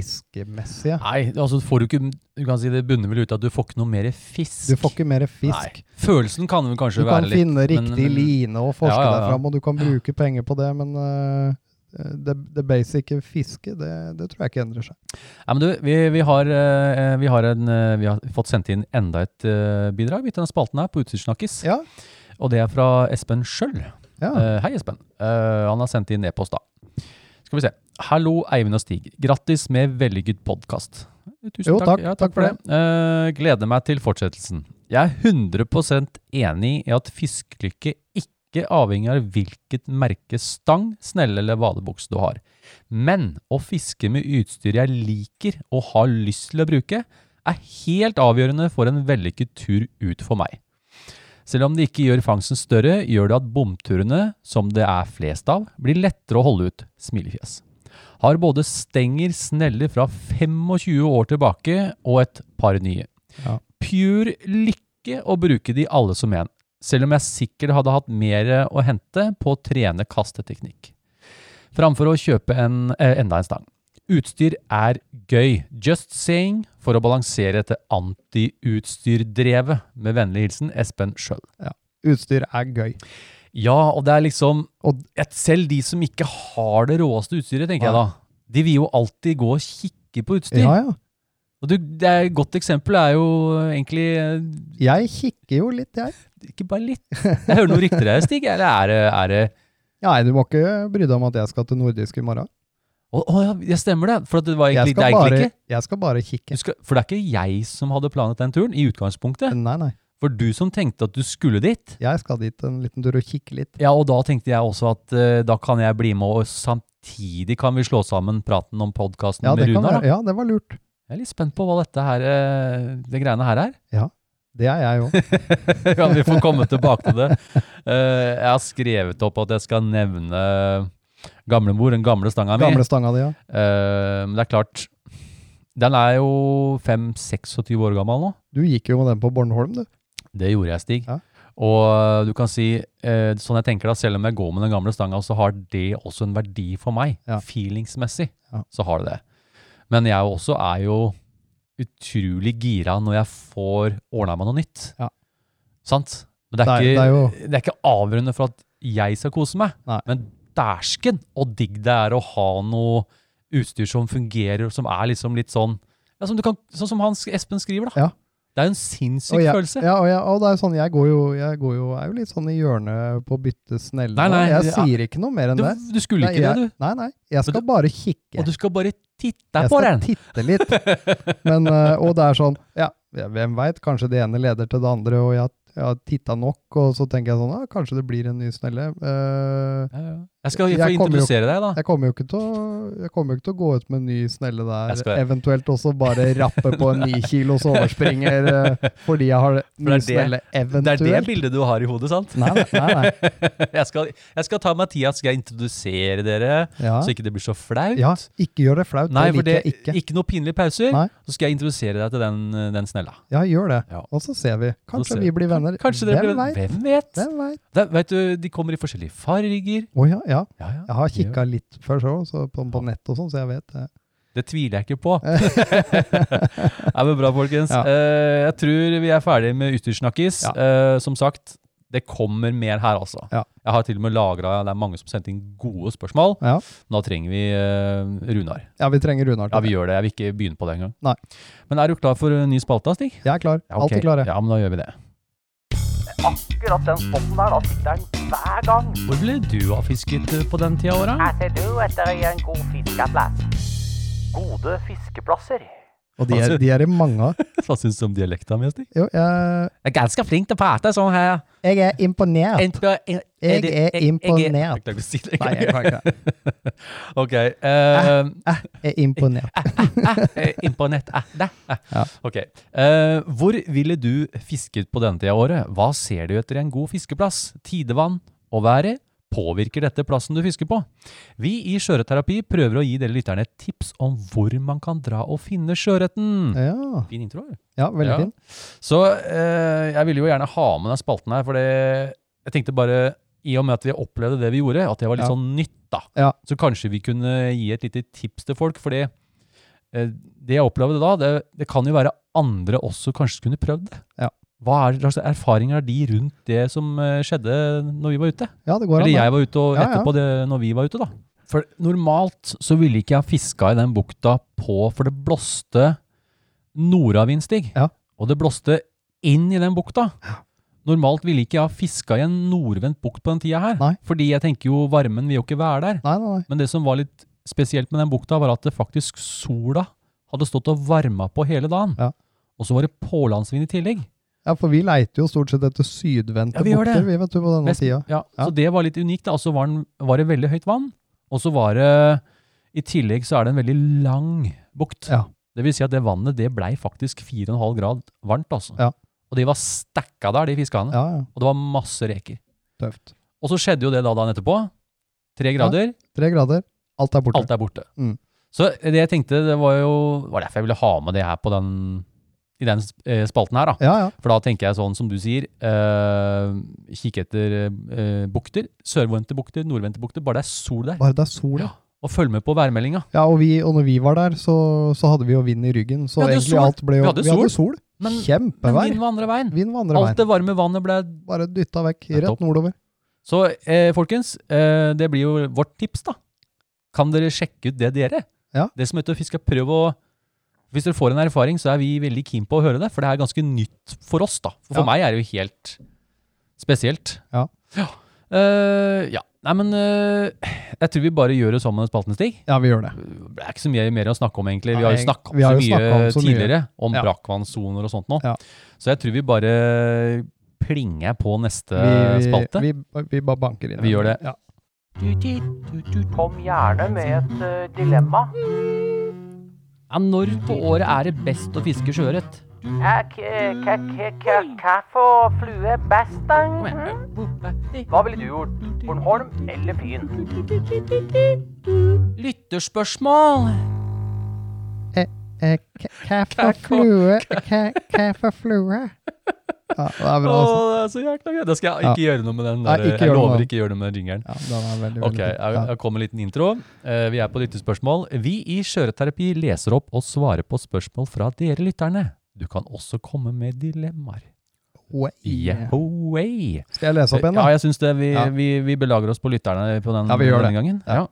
S6: fiskemessige.
S5: Nei, altså får du ikke Du kan si det bunner vel ut i at du får ikke noe mer fisk.
S6: Du får ikke mer fisk.
S5: Nei. Følelsen kan vel
S6: Du
S5: kanskje
S6: kan
S5: være litt
S6: finne
S5: men-
S6: riktig
S5: men-
S6: line og forske
S5: Ja, ja, ja.
S6: deg fram, og du kan bruke penger på det, men eh, det, det basic fisket, det, det tror jeg ikke endrer seg.
S5: Nei, men du, vi, vi, har, eh, vi, har en, eh, vi har fått sendt inn enda et eh, bidrag vi, til denne spalten her på Utstyrssnakkis.
S6: Ja.
S5: Og det er fra Espen Schjøll.
S6: Ja.
S5: Eh, hei, Espen. Eh, han har sendt inn e-post, da. Skal vi se. Hallo, Eivind og Stig. Grattis med vellykket podkast. Tusen
S6: Jo, takk.
S5: Ja,
S6: Takk for
S5: Eh, gleder meg til fortsettelsen. Jeg er 100 enig i at fiskelykke ikke avhenger av hvilket merke stang, snelle eller vadebukse du har. Men å fiske med utstyr jeg liker og har lyst til å bruke, er helt avgjørende for en vellykket tur ut for meg. Selv om det ikke gjør fangsten større, gjør det at bomturene, som det er flest av, blir lettere å holde ut. Smilefjes. Har både stenger, sneller fra 25 år tilbake og et par nye.
S6: Ja.
S5: Pure lykke å bruke de alle som en, selv om jeg sikkert hadde hatt mer å hente på å trene kasteteknikk. Framfor å kjøpe en, eh, enda en stang. Utstyr er gøy, just saying, for å balansere etter anti-utstyrdrevet. Med vennlig hilsen Espen Schjøll.
S6: Utstyr er gøy.
S5: Ja, og det er liksom
S6: Og-
S5: et, Selv de som ikke har det råeste utstyret, tenker jeg da, de vil jo alltid gå og kikke på utstyr.
S6: Ja, ja.
S5: Og du, det er Et godt eksempel er jo egentlig eh,
S6: Jeg kikker jo litt, jeg.
S5: Ikke bare litt. Jeg hører noen rykter her, Stig. Eller er det, er det
S6: Nei, du må ikke bry deg om at jeg skal til nordisk i morgen.
S5: Å å ja, det stemmer det. For at det var
S6: Jeg
S5: egentlig, det
S6: skal,
S5: er egentlig
S6: bare,
S5: ikke
S6: jeg skal bare
S5: du
S6: kikke.
S5: skal, For det er ikke jeg som hadde planet den turen, i utgangspunktet.
S6: Nei, nei.
S5: For du som tenkte at du skulle dit.
S6: Jeg skal dit en liten tur og kikke litt.
S5: Ja, og da tenkte jeg også at eh, da kan jeg bli med, og samtidig kan vi slå sammen praten om podkasten
S6: Ja, det,
S5: med
S6: kan
S5: Runar. da.
S6: være. ja, det var lurt.
S5: Jeg er litt spent på hva dette her, eh, det greiene her er. (laughs)
S6: Det er jeg òg.
S5: ja, vi får komme tilbake til det. Eh, jeg har skrevet opp at jeg skal nevne gamlemor, den gamle stanga mi.
S6: Gamle stanga di, ja.
S5: Eh, men det er klart, den er jo 5-26 år gammel nå.
S6: Du gikk jo med den på Bornholm, du.
S5: Det gjorde jeg, Stig.
S6: Ja.
S5: Og du kan si, eh, sånn jeg tenker da, selv om jeg går med den gamle stanga, så har det også en verdi for meg.
S6: Ja.
S5: Feelingsmessig
S6: Ja.
S5: så har det det. Men jeg også er jo utrolig gira når jeg får ordna meg noe nytt.
S6: Ja.
S5: Sant? Men det er,
S6: Det er-
S5: ikke,
S6: det
S5: det,
S6: er
S5: er
S6: jo-
S5: ikke avgjørende for at jeg skal kose meg.
S6: Nei.
S5: Men dæsken og digg det er å ha noe utstyr som fungerer, og som er liksom litt sånn ja, som du kan, Sånn som Hans Espen skriver, da.
S6: Ja.
S5: Det er jo en sinnssyk
S6: Og jeg,
S5: følelse.
S6: ja, og, jeg, og det er jo sånn, jeg går jo, jeg går jo, er jo litt sånn i hjørnet på å bytte snelle.
S5: Nei, nei,
S6: jeg
S5: ja.
S6: sier ikke noe mer enn
S5: Du,
S6: det.
S5: du skulle
S6: Nei,
S5: ikke
S6: jeg,
S5: det, du.
S6: Nei, nei. Jeg skal
S5: du-
S6: bare kikke.
S5: Og du skal bare titte
S6: jeg
S5: på
S6: skal
S5: den.
S6: titte litt.
S5: (laughs)
S6: Men, eh, og det er sånn, ja, ja, hvem veit, kanskje det ene leder til det andre, og jeg, jeg har titta nok, og så tenker jeg sånn, ja, kanskje det blir en ny snelle. Eh,
S5: Ja, ja. Jeg skal
S6: Jeg
S5: få
S6: kommer jo-
S5: introdusere deg, da.
S6: jeg kommer jo ikke til å, jeg kommer jo ikke til å gå ut med en ny snelle der,
S5: Jeg skal-
S6: eventuelt også bare rappe på
S5: (laughs)
S6: en 9 kilos overspringer, eh, fordi jeg har ny
S5: det er
S6: snelle
S5: Det er det
S6: eventuelt.
S5: bildet du har i hodet, sant? (laughs)
S6: Nei, nei, nei, nei.
S5: Jeg skal, jeg skal ta Mathias, skal jeg introdusere dere,
S6: Ja.
S5: så ikke det blir så flaut.
S6: ja, ikke gjør det flaut,
S5: Nei,
S6: det
S5: for det
S6: liker jeg ikke.
S5: ikke noe pinlige pauser.
S6: Nei.
S5: Så skal jeg introdusere deg til den, den snella.
S6: Ja, gjør det.
S5: Ja.
S6: Og så ser vi. Kanskje
S5: ser
S6: vi blir venner.
S5: Kanskje dere blir
S6: Hvem veit?
S5: Hvem vet?
S6: Hvem veit?
S5: Det, vet du, de kommer i forskjellige farger.
S6: Å ja, ja.
S5: Ja, ja.
S6: Jeg har
S5: det gjør-
S6: kikka litt før så, så på, på nett og sånn, så jeg vet
S5: (laughs)
S6: det.
S5: Det tviler jeg ikke på.
S6: (laughs)
S5: (laughs) Nei, men bra, folkens.
S6: Ja.
S5: Eh, jeg tror vi er ferdige med Yttersnakkis. Eh, som sagt, det kommer mer her, altså.
S6: Ja.
S5: Jeg har til og med lagra Det er mange som sendte inn gode spørsmål.
S6: Ja.
S5: Nå trenger vi eh, Runar.
S6: Ja, vi trenger Runar
S5: Ja, vi
S6: til det.
S5: gjør det. Jeg vil ikke begynne på det engang.
S6: Nei.
S5: Men er du klar for eh, ny spalte, Stig?
S6: Jeg er klar.
S5: Ja, ok.
S6: Alltid klar, jeg.
S5: Ja, men da gjør vi det.
S2: Akkurat den spotten der, da sitter den hver gang.
S5: Hvor ble du av fisket eh, på den tida av året?
S2: Her ser du etter en god fiskeplass. Gode fiskeplasser.
S6: Og de
S5: Altså-
S6: er, de er i mange av.
S5: Hva syns du om dialekta mi, Stig?
S6: Jo, jeg,
S5: Jeg er ganske flink til å prate sånn her.
S6: jeg er imponert. Jeg er
S5: Jeg
S6: imponert.
S5: klarer ikke å si det
S6: Nei, jeg
S5: engang.
S6: kan ikke det.
S5: Ok. eh,
S6: Jeg er
S5: (laughs)
S6: imponert.
S5: eh, inn på nett. Eh, der, eh.
S6: Ja.
S5: Ok. Eh, hvor ville du fisket på denne tida av året? Hva ser du etter en god fiskeplass? Tidevann og været? Påvirker dette plassen du fisker på? Vi i Sjøørretterapi prøver å gi dere lytterne et tips om hvor man kan dra og finne sjøørreten.
S6: Ja,
S5: Fin intro. eller?
S6: ja veldig
S5: Ja.
S6: fin.
S5: Så eh, jeg ville jo gjerne ha med den spalten her, for det- jeg tenkte bare i og med at vi opplevde det vi gjorde, at det var litt
S6: Ja.
S5: sånn nytt, da.
S6: Ja.
S5: Så kanskje vi kunne gi et lite tips til folk, fordi eh, det jeg opplevde da, det, det kan jo være andre også kanskje kunne prøvd det.
S6: Ja.
S5: Hva er slags erfaringer har de rundt det som eh, skjedde når vi var ute?
S6: Ja, det går
S5: Eller
S6: an. da.
S5: jeg var ute, og
S6: Ja, ja.
S5: etterpå det når vi var ute, da. For normalt så ville ikke jeg fiska i den bukta på, for det blåste nordavind, Stig.
S6: Ja.
S5: Og det blåste inn i den bukta. Normalt ville ikke jeg fiska i en nordvendt bukt på den tida her.
S6: Nei.
S5: Fordi jeg tenker jo varmen vil jo ikke være der.
S6: Nei, nei, nei.
S5: Men det som var litt spesielt med den bukta, var at det faktisk sola hadde stått og varma på hele dagen.
S6: Ja.
S5: Og så var det pålandsvind i tillegg.
S6: Ja, for vi leiter jo stort sett etter sydvendte
S5: Ja, vi gjør
S6: bukter,
S5: det.
S6: vi vet du, på denne
S5: Mest-
S6: tida.
S5: Ja,
S6: Ja.
S5: Så det var litt unikt. da. Og så var, den- var det veldig høyt vann. Og så var det I tillegg så er det en veldig lang bukt.
S6: Ja.
S5: Det vil si at det vannet det blei faktisk 4,5 grad varmt. altså.
S6: Ja.
S5: Og de var stacka der, de fiskene.
S6: Ja, ja.
S5: Og det var masse reker.
S6: Tøft.
S5: Og så skjedde jo det da dagen etterpå. Tre grader.
S6: Tre grader. Alt er borte.
S5: Alt er borte.
S6: Mm.
S5: Så det jeg tenkte, det var jo det var derfor jeg ville ha med det her på den, i den eh, spalten her. da.
S6: Ja, ja.
S5: For da tenker jeg sånn som du sier, eh, kikk etter eh, bukter, sørvendte bukter, nordvendte bukter, bare det er sol der.
S6: Bare det er sol, ja.
S5: Ja. Og følg med på værmeldinga.
S6: Ja, og, vi, og når vi var der, så, så hadde vi jo vind i ryggen. Så
S5: Vi hadde jo
S6: egentlig
S5: sol.
S6: alt ble jo
S5: Vi hadde
S6: sol.
S5: Men, men
S6: Kjempevær.
S5: vind var andre veien.
S6: Vind vandrer
S5: Alt
S6: veien.
S5: det varme vannet ble
S6: Bare dytta vekk,
S5: Det er topp.
S6: rett nordover.
S5: Så eh, folkens, eh, det blir jo vårt tips, da. Kan dere sjekke ut det dere?
S6: Ja.
S5: Det som heter å fiske, prøv å Hvis dere får en erfaring, så er vi veldig keen på å høre det, for det er ganske nytt for oss, da. For,
S6: Ja.
S5: for meg er det jo helt spesielt.
S6: Ja.
S5: Ja. Eh, ja. Nei, men eh, jeg tror vi bare gjør det som en spalten, Stig.
S6: Ja, vi gjør det.
S5: Det er ikke så mye mer å snakke om, egentlig. Vi
S6: Nei,
S5: har jo snakka om,
S6: vi har
S5: så
S6: jo
S5: mye
S6: snakket om så mye.
S5: tidligere, om
S6: Ja.
S5: brakkvannssoner og sånt nå.
S6: Ja.
S5: Så jeg tror vi bare plinger på neste
S6: Vi, vi,
S5: spalte.
S6: vi, vi bare banker inn.
S5: Vi gjør det.
S6: Ja.
S2: Kom gjerne med et eh, dilemma.
S1: Ja, når på året er det best å fiske sjøørret?
S2: Hva for flue best, da? Hva ville du gjort? Bornholm eller Fyn?
S1: Lytterspørsmål!
S6: Eh, k- Hva for flue? Hva- Hva for
S5: (laughs)
S6: flue? Ja, det er bra. Altså.
S5: Åh, det er så jækla gøy. Da skal jeg ikke gjøre noe med den.
S6: Nei,
S5: Der,
S6: ikke
S5: jeg
S6: gjør noe med
S5: lover
S6: den.
S5: ikke gjøre noe med den jingeren.
S6: Ja, den er veldig, veldig
S5: Ok, jeg,
S6: fin. Ja.
S5: jeg kom med en liten intro. Eh, vi er på lyttespørsmål. Vi i Skjøreterapi leser opp og svarer på spørsmål fra dere lytterne. Du kan også komme med dilemmaer.
S6: Oi.
S5: Yehoey!
S6: Skal jeg lese opp en, da?
S5: Ja, jeg syns det. Vi,
S6: Ja.
S5: vi, vi belager oss på lytterne på den,
S6: Ja, vi gjør
S5: denne gangen.
S6: Ja.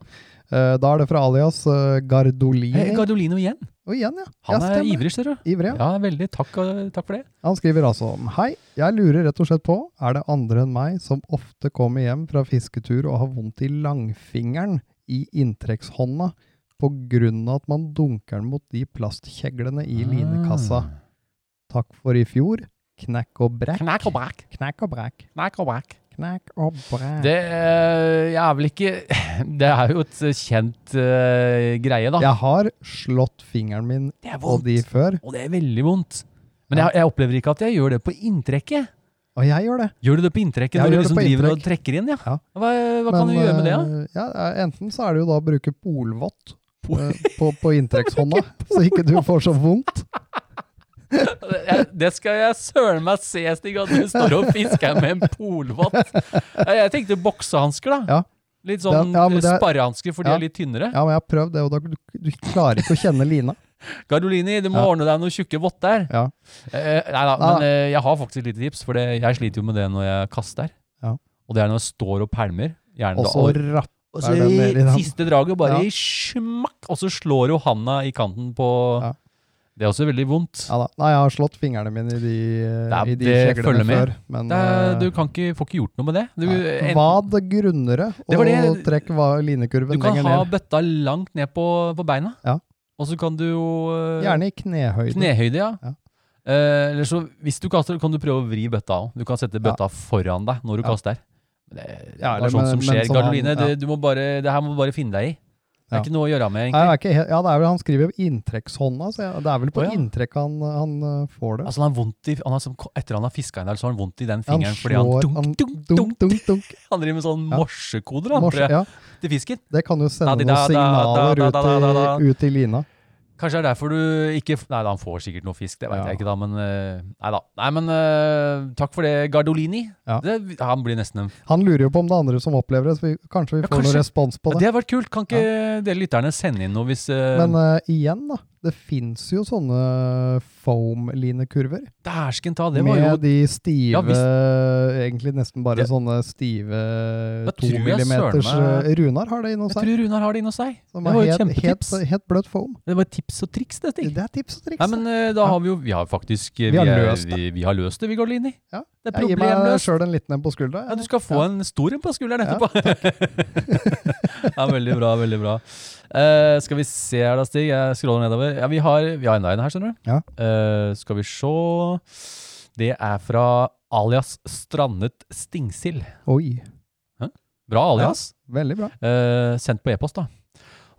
S6: Eh, Da er det fra alias eh, Gardolini.
S5: Hey, Gardolino igjen.
S6: Og igjen, ja.
S5: Han
S6: ja,
S5: er
S6: stemmer.
S5: ivrig, ser du.
S6: Ivrig, ja.
S5: Ja, veldig. Takk, eh, takk for det.
S6: Han skriver altså Hei, jeg lurer rett og slett på, er det andre enn meg som ofte kommer hjem fra fisketur og har vondt i langfingeren i inntrekkshånda på grunn av at man dunker den mot de plastkjeglene i linekassa?
S5: Ah.
S6: Takk for i fjor. Knekk og brekk.
S5: Knakk og brakk.
S6: Knekk og brekk.
S5: Knakk og brakk.
S6: Knekk og brekk.
S5: Det eh, jeg er vel ikke (laughs) Det er jo et kjent eh, greie, da.
S6: Jeg har slått fingeren min
S5: det er
S6: på de før,
S5: Og det er veldig vondt. Men jeg, jeg opplever ikke at jeg gjør det på inntrekket.
S6: og jeg gjør det.
S5: Gjør du det på inntrekket
S6: Jeg
S5: når du
S6: gjør det
S5: liksom
S6: på
S5: driver og
S6: inntrekk.
S5: trekker inn? Ja.
S6: Ja.
S5: Hva, hva kan du
S6: Men,
S5: gjøre med det, da?
S6: eh, Ja, enten så er det jo da å bruke polvott eh, på,
S5: (laughs)
S6: på inntrekkshånda, så ikke du får så vondt.
S5: Eh, Jeg- Det skal jeg søren meg se, Stig, at du står og fisker med en
S6: (laughs)
S5: polvott. Jeg jeg tenkte boksehansker, da.
S6: Ja.
S5: Litt sånn
S6: Ja, ja, men det er-
S5: sparrehansker, for de
S6: Ja.
S5: er litt tynnere.
S6: Ja, men jeg har prøvd det, og da, du, du klarer ikke å kjenne lina.
S5: Gardolini, du må
S6: Ja.
S5: ordne deg noen tjukke votter.
S6: Ja.
S5: Eh, nei da,
S6: Nei,
S5: men eh, jeg har faktisk et lite tips, for det, jeg sliter jo med det når jeg kaster.
S6: Ja.
S5: Og det er når jeg står og pælmer. gjerne
S6: Og
S5: da,
S6: så rapp.
S5: og så
S6: er det nedi
S5: i
S6: den.
S5: siste draget bare
S6: Ja.
S5: i smakk, og så slår jo handa i kanten på
S6: Ja.
S5: Det er også veldig vondt.
S6: Ja da. Nei, jeg har slått fingrene mine i de,
S5: Nei,
S6: eh, i de
S5: det følger
S6: kjeglene
S5: med.
S6: før. Men
S5: Det er, du
S6: eh,
S5: kan ikke, får ikke gjort noe med det. Du,
S6: nei.
S5: en-
S6: vad grunnere,
S5: Det var
S6: og
S5: det-
S6: trekk va-
S5: du
S6: linekurven
S5: kan
S6: lenger
S5: ha
S6: ned.
S5: bøtta langt ned på, på beina,
S6: Ja.
S5: Og så kan du jo eh,
S6: Gjerne i knehøyde.
S5: Knehøyde, ja.
S6: Ja.
S5: Eh, eller så, hvis du kaster, kan du prøve å vri bøtta òg. Du kan sette bøtta foran deg når du
S6: Ja.
S5: kaster. Men Det, det
S6: Ja,
S5: er
S6: eller
S5: sånt
S6: men-
S5: som
S6: men
S5: skjer.
S6: som han-
S5: Garoline,
S6: ja.
S5: det, du må bare, det her må du bare finne deg i. Det er
S6: Ja.
S5: ikke noe å gjøre av med,
S6: Nei,
S5: egentlig.
S6: det er ikke helt, ja, det er vel, han skriver jo inntrekkshånda, så jeg, det er vel på
S5: Å, ja.
S6: inntrekk han, han eh, får det.
S5: Altså, han har vondt i, han har, som- etter han har fiska en del, så har han vondt i den
S6: han
S5: fingeren fordi han dunk,
S6: han-
S5: dunk,
S6: dunk,
S5: (laughs)
S6: dunk, dunk.
S5: Han driver med sånn
S6: Ja.
S5: morsekoder han,
S6: Morse,
S5: tror jeg,
S6: ja,
S5: til fisken.
S6: det kan jo sende
S5: Da, di,
S6: noen
S5: da, da, da,
S6: signaler
S5: da, da, da, da.
S6: ut i, ut i lina.
S5: Kanskje det er derfor du ikke f- Nei, da, han får sikkert noe fisk, det vet
S6: Ja.
S5: jeg ikke, da. Men eh, nei da. Nei, men eh, takk for det, Gardolini.
S6: Ja.
S5: Det, han blir nesten en
S6: Han lurer jo på om det er andre som opplever det, så vi, kanskje vi
S5: Ja,
S6: får
S5: kanskje.
S6: noen respons på
S5: Ja,
S6: det.
S5: det har vært kult. Kan ikke dere lytterne sende inn noe hvis eh,
S6: Men eh, igjen, da. Det fins jo sånne foam-linekurver.
S5: Dæsken ta, det var jo
S6: Med de stive
S5: Ja,
S6: Egentlig nesten bare
S5: Det-
S6: sånne stive
S5: Da
S6: to
S5: tror jeg søren
S6: millimeters
S5: meg-
S6: eh, Runar har det inne
S5: Jeg
S6: hos
S5: tror
S6: seg.
S5: Runar har det inne hos deg.
S6: Som
S5: det
S6: er
S5: var jo et
S6: helt, helt,
S5: kjempetips.
S6: helt bløt foam.
S5: Det var et tips og triks, dette. ikke?
S6: Det er tips og triks.
S5: Nei, men eh, da
S6: Ja.
S5: har vi jo Vi har faktisk eh,
S6: Vi har
S5: er-
S6: løst det.
S5: Vi, vi har løst det, vi, Gardlini.
S6: Ja.
S5: Det er
S6: Jeg gir meg
S5: eh, problemløst.
S6: sjøl en liten en på skuldra.
S5: Ja,
S6: jeg.
S5: du skal få
S6: Ja.
S5: en stor en på skulderen
S6: Ja,
S5: etterpå. (laughs) ja, veldig bra, veldig bra. Eh, skal vi se her da, Stig. Jeg scroller nedover. Ja, Vi har, vi har enda en her, skjønner du.
S6: Ja.
S5: Eh, skal vi se. Det er fra alias Strandet Stingsild.
S6: Oi.
S5: Bra alias.
S6: Veldig bra.
S5: Eh, sendt på e-post, da.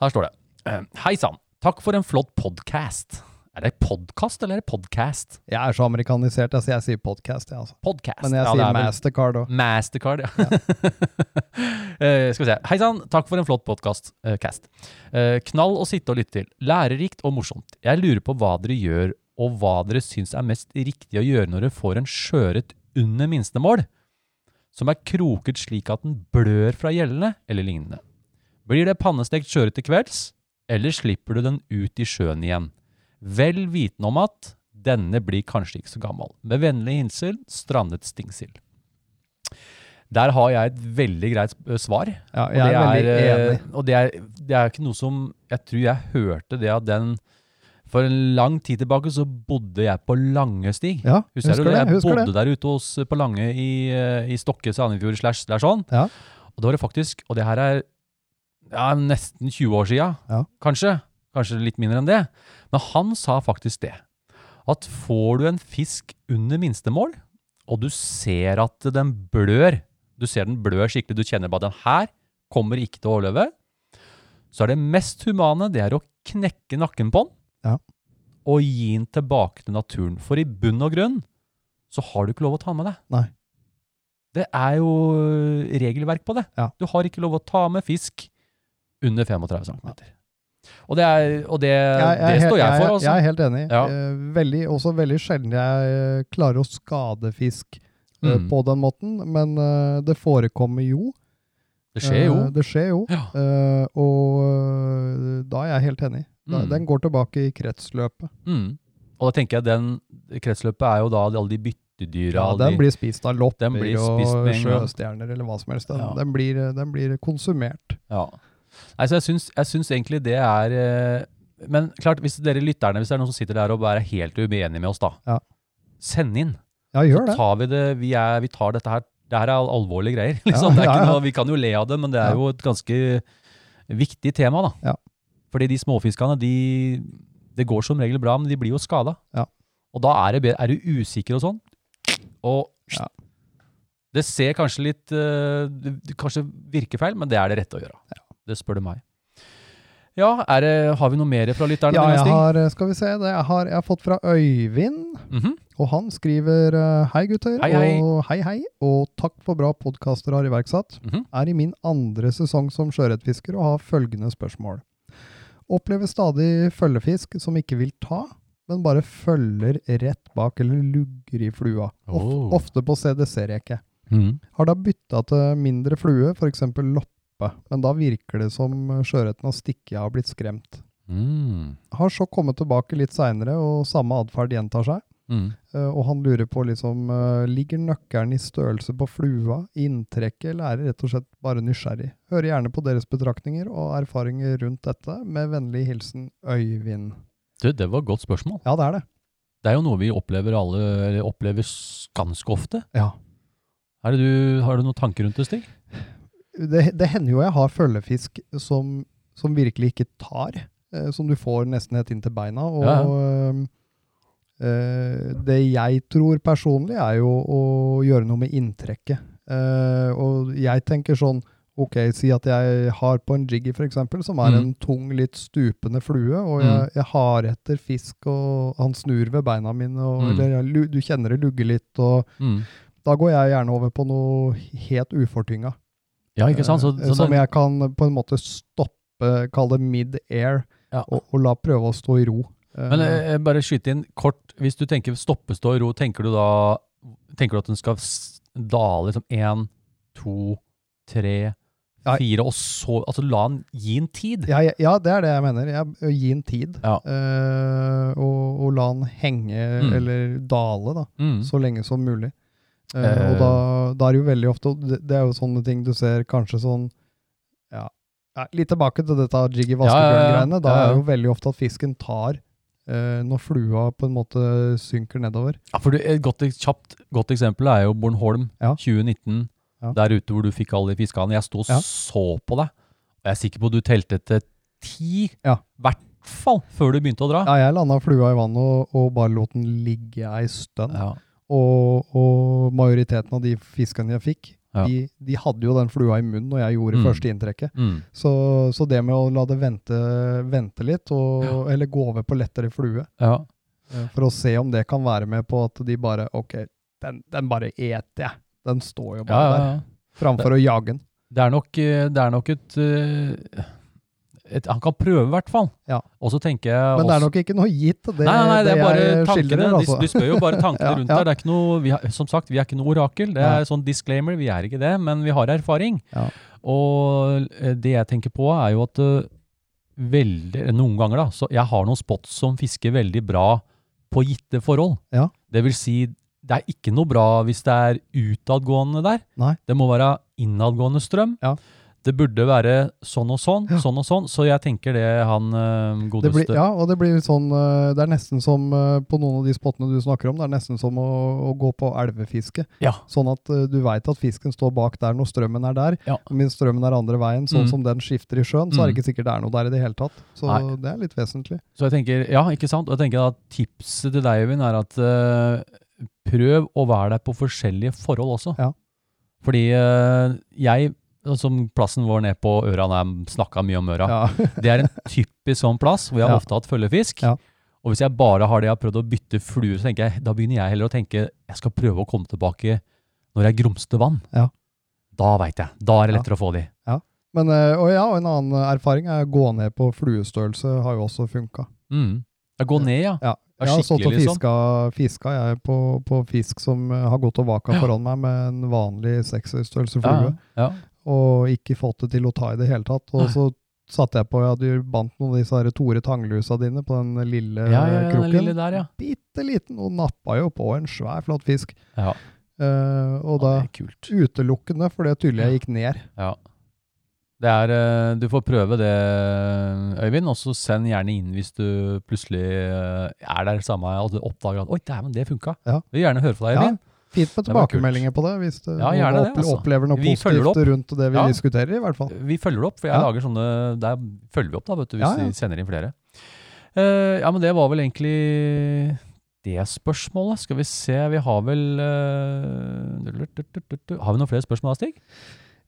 S5: Her står det.
S6: Eh,
S5: Uh, Hei sann, takk for en flott podkast. Er det podkast eller er det podcast?
S6: Jeg er så amerikanisert, altså jeg sier podcast, jeg, altså.
S5: Podcast.
S6: Men
S5: Ja,
S6: jeg
S5: det er
S6: sier
S5: vel-
S6: mastercard òg.
S5: Mastercard, ja. (laughs) Eh, skal vi se. Hei sann, takk for en flott podkast. cast. Eh, knall å sitte og lytte til. Lærerikt og morsomt. Jeg lurer på hva dere gjør, og hva dere syns er mest riktig å gjøre når dere får en skjøret under minstemål, som er kroket slik at den blør fra gjellene, eller lignende. Blir det pannestekt skjøret til kvelds, eller slipper du den ut i sjøen igjen? Vel vitende om at denne blir kanskje ikke så gammel. Med vennlig hilsen Strandet Stingsild. Der har jeg et veldig greit eh, svar.
S6: Ja,
S5: Og
S6: jeg er,
S5: det
S6: veldig
S5: er, eh,
S6: enig.
S5: Og det er, det er ikke noe som Jeg tror jeg hørte det at den For en lang tid tilbake så bodde jeg på Langestig.
S6: Ja,
S5: Husker,
S6: husker
S5: du?
S6: det?
S5: Jeg
S6: Husker
S5: bodde
S6: det.
S5: der ute hos, på Lange i, eh, i Stokke, Sandefjord, slash, slash sånn.
S6: Ja.
S5: Og da var det faktisk, og det her er ja, nesten 20 år siden,
S6: Ja.
S5: kanskje, kanskje litt mindre enn det, men han sa faktisk det, at får du en fisk under minstemål, og du ser at den blør, du ser den blør skikkelig, du kjenner bare at den her kommer ikke til å overleve, så er det mest humane, det er å knekke nakken på den,
S6: Ja.
S5: og gi den tilbake til naturen. For i bunn og grunn, så har du ikke lov å ta med deg.
S6: Nei.
S5: Det er jo øh, regelverk på det.
S6: Ja.
S5: Du har ikke lov å ta med fisk under 35 cm. Og det, er, og det,
S6: Jeg, jeg, er
S5: Eh, det
S6: helt-
S5: står jeg,
S6: jeg,
S5: for,
S6: er-
S5: altså.
S6: jeg er helt enig.
S5: Ja.
S6: Eh, Veldig, også veldig sjelden jeg eh, klarer å skade fisk eh,
S5: Mm.
S6: på den måten, men eh, det forekommer jo.
S5: det skjer jo.
S6: Eh, Det skjer jo.
S5: Ja.
S6: Eh, og eh, da er jeg helt enig. Da,
S5: Mm.
S6: Den går tilbake i kretsløpet.
S5: Mm. Og da tenker jeg den kretsløpet er jo da alle de byttedyra.
S6: Ja,
S5: alle de-
S6: den blir spist av lopper
S5: den blir spist
S6: og
S5: med en gang.
S6: sjøstjerner eller hva som helst. Den,
S5: Ja.
S6: den, blir, eh, den blir konsumert.
S5: Ja. Nei, så jeg syns, jeg syns egentlig det er eh, Men klart, hvis dere lytterne, hvis det er noen som sitter der og bare er helt uenige med oss, da.
S6: Ja.
S5: Send inn.
S6: Ja, gjør det.
S5: Så tar vi det. Vi, er, vi tar dette her. Det her er al- alvorlige greier. (laughs) Liksom. det er
S6: ja,
S5: ikke
S6: ja.
S5: noe, vi kan jo le av det, men det er
S6: Ja.
S5: jo et ganske viktig tema, da.
S6: Ja.
S5: Fordi de småfiskene, de Det går som regel bra, men de blir jo skada.
S6: Ja.
S5: Og da er det bedre Er du usikker og sånn, og
S6: Ja.
S5: Det ser kanskje litt eh, det- det Kanskje virker feil, men det er det rette å gjøre. Det spør du meg. Ja, er det, har vi noe mer fra lytterne?
S6: Ja,
S5: denne
S6: jeg
S5: sting?
S6: har, eh, skal vi se, det jeg har, jeg har fått fra Øyvind,
S5: Mhm.
S6: og han skriver eh, Hei gutter,
S5: Hei, hei.
S6: og hei hei, og takk for bra podkaster har iverksatt.
S5: Mhm.
S6: Er i min andre sesong som sjøørretfisker og har følgende spørsmål. Opplever stadig følgefisk som ikke vil ta, men bare følger rett bak eller lugger i flua. Of,
S5: Oh.
S6: Ofte på CDC-reke.
S5: Mhm.
S6: Har da bytta til mindre flue, f.eks. loppe, men da virker det som sjøørreten har stikket av og blitt skremt.
S5: Mm.
S6: Har så kommet tilbake litt seinere, og samme atferd gjentar seg.
S5: Mm.
S6: Eh, Og han lurer på liksom eh, Ligger nøkkelen i størrelse på flua, inntrekket, eller er det rett og slett bare nysgjerrig? Hører gjerne på deres betraktninger og erfaringer rundt dette. Med vennlig hilsen Øyvind.
S5: Du, det var et godt spørsmål.
S6: Ja, det er det.
S5: Det er jo noe vi opplever alle, eller opplever s- ganske ofte.
S6: Ja.
S5: Er det du, har du noen tanker rundt det, Stig?
S6: Det, det hender jo jeg har følgefisk som, som virkelig ikke tar. eh, som du får nesten helt inn til beina. Og
S5: Ja,
S6: eh, eh, det jeg tror personlig, er jo å gjøre noe med inntrekket. Eh, og jeg tenker sånn Ok, si at jeg har på en jiggy, f.eks., som er
S5: Mm.
S6: en tung, litt stupende flue,
S5: Mm.
S6: og jeg, jeg har etter fisk, og han snur ved beina mine, og,
S5: Mm.
S6: eller jeg, lu- du kjenner det lugger litt, og
S5: Mm.
S6: da går jeg gjerne over på noe helt ufortynga.
S5: Ja, ikke sant? Så,
S6: Eh,
S5: så
S6: som
S5: den,
S6: jeg kan på en måte stoppe, kalle det mid-air,
S5: Ja.
S6: og, og la prøve å stå i ro. Eh,
S5: men eh, bare skyte inn kort. Hvis du tenker stoppe, stå i ro, tenker du da tenker du at den skal s- dale liksom én, to, tre,
S6: Ja.
S5: fire, og så altså la den gi en tid?
S6: ja, ja, ja, det er det jeg mener. Jeg, ø, gi den tid,
S5: Ja.
S6: eh, og, og la den henge
S5: Mm.
S6: eller dale da,
S5: Mm.
S6: så lenge som mulig. Eh,
S5: Eh.
S6: og da, da er det jo veldig ofte, og det, det er jo sånne ting du ser kanskje sånn, ja, Nei, litt tilbake til dette jiggy
S5: ja, ja.
S6: vaskebjørn-greiene, da
S5: Ja, ja.
S6: er det jo veldig ofte at fisken tar eh, når flua på en måte synker nedover.
S5: Ja, for du- Et godt, kjapt, godt eksempel er jo Bornholm
S6: Ja.
S5: 2019.
S6: Ja.
S5: Der ute hvor du fikk alle de fiskene. Jeg sto og
S6: Ja.
S5: så på deg. Og jeg er sikker på at du telte til ti, i
S6: Ja.
S5: hvert fall, før du begynte å dra.
S6: Ja, jeg landa flua i vannet og, og bare lot den ligge ei stund.
S5: Ja.
S6: Og, og majoriteten av de fiskene jeg fikk,
S5: Ja.
S6: de, de hadde jo den flua i munnen når jeg gjorde
S5: Mm.
S6: første inntrekket.
S5: Mm.
S6: Så, så det med å la det vente, vente litt, og, eller gå over på lettere flue,
S5: Ja.
S6: eh, for å se om det kan være med på at de bare Ok, den, den bare eter jeg. Den står
S5: Ja,
S6: jo bare
S5: ja, ja.
S6: der, framfor å jage den.
S5: Det er nok, eh, det er nok et, eh, et Han kan prøve, i hvert fall.
S6: Ja.
S5: Og så tenker jeg
S6: Men det er
S5: også-
S6: nok ikke noe gitt, det,
S5: nei, nei, nei, det er bare
S6: jeg
S5: tankene.
S6: skildrer. Altså.
S5: Du, spør jo
S6: (laughs)
S5: bare tankene
S6: Ja,
S5: rundt
S6: ja.
S5: der. Det er ikke noe, vi har, som sagt, vi er ikke noe orakel. Det er sånn disclaimer, vi er ikke det, men vi har erfaring.
S6: Ja.
S5: Og eh, det jeg tenker på er jo at eh, veldig, eh, noen ganger da, så jeg har noen spots som fisker veldig bra på gitte forhold.
S6: Ja.
S5: Det vil si, det er ikke noe bra hvis det er utadgående der.
S6: Nei.
S5: Det må være innadgående strøm.
S6: Ja.
S5: Det burde være sånn og sånn,
S6: Ja.
S5: sånn og sånn. Så jeg tenker det han eh,
S6: Det
S5: godeste...
S6: blir, ja, og det blir litt sånn eh, Det er nesten som eh, på noen av de spottene du snakker om, det er nesten som å, å gå på elvefiske.
S5: Ja.
S6: Sånn at eh, du veit at fisken står bak der når strømmen er der.
S5: Ja.
S6: Men Hvis strømmen er andre veien,
S5: Mm.
S6: sånn som den skifter i sjøen, så er det
S5: Mm.
S6: ikke sikkert det er noe der i det hele tatt. Så
S5: Nei.
S6: det er litt vesentlig.
S5: Så jeg tenker, ja, ikke sant? Og jeg tenker at tipset til deg, Øyvind, er at eh, prøv å være der på forskjellige forhold også.
S6: Ja.
S5: Fordi eh, jeg, som plassen vår ned på Øra, når jeg snakket mye om Øra,
S6: Ja. (laughs)
S5: det er en typisk sånn plass hvor jeg
S6: Ja.
S5: ofte har hatt følgefisk.
S6: Ja.
S5: Og hvis jeg bare har det jeg har prøvd å bytte fluer, så tenker jeg, da begynner jeg heller å tenke, jeg skal prøve å komme tilbake når jeg grumster vann.
S6: Ja.
S5: Da vet jeg, da er det
S6: Ja.
S5: lettere å få de.
S6: Men, eh, og ja, og en annen erfaring er å gå ned på fluestørrelse har jo også funka.
S5: Mm. Jeg går ned, ja.
S6: Ja.
S5: Ja,
S6: Jeg har stått og
S5: skikkelig, liksom.
S6: fiska, fiska jeg på, på fisk som eh, har gått og vaka foran meg med en vanlig sekserstørrelse flue.
S5: ja.
S6: og ikke fått det til å ta i det hele tatt. Og så satte jeg på, jeg hadde jo bandt noen av disse her Tore Tanglusa dine på den
S5: Ja,
S6: lille
S5: ja, ja, den
S6: Eh, kroken.
S5: lille der, ja.
S6: Bitte liten, og nappa jo på en svær, flat fisk.
S5: Ja.
S6: Eh, og da
S5: Ja, det er kult.
S6: utelukkende fordi jeg tydelig jeg gikk ned.
S5: Ja. Det er, eh, du får prøve det, Øyvind, og så send gjerne inn hvis du plutselig eh, er der samme og du oppdager at 'oi, dæven, det funka'.
S6: Ja.
S5: Vi vil gjerne høre fra deg,
S6: Ja,
S5: Øyvind.
S6: Fint med
S5: Det var
S6: tilbakemeldinger på det, hvis du
S5: Ja, gjerne det,
S6: opple-
S5: altså.
S6: opplever noe
S5: Vi følger det
S6: positivt rundt det vi
S5: Ja.
S6: diskuterer, i hvert fall.
S5: Vi følger det opp, for jeg
S6: Ja.
S5: lager sånne Der følger vi opp, da, vet du, hvis
S6: Ja, ja.
S5: de sender inn flere. Eh, ja, men det var vel egentlig det spørsmålet. Skal vi se, vi har vel eh, du- du- du- du- du- Har vi noen flere spørsmål, Stig?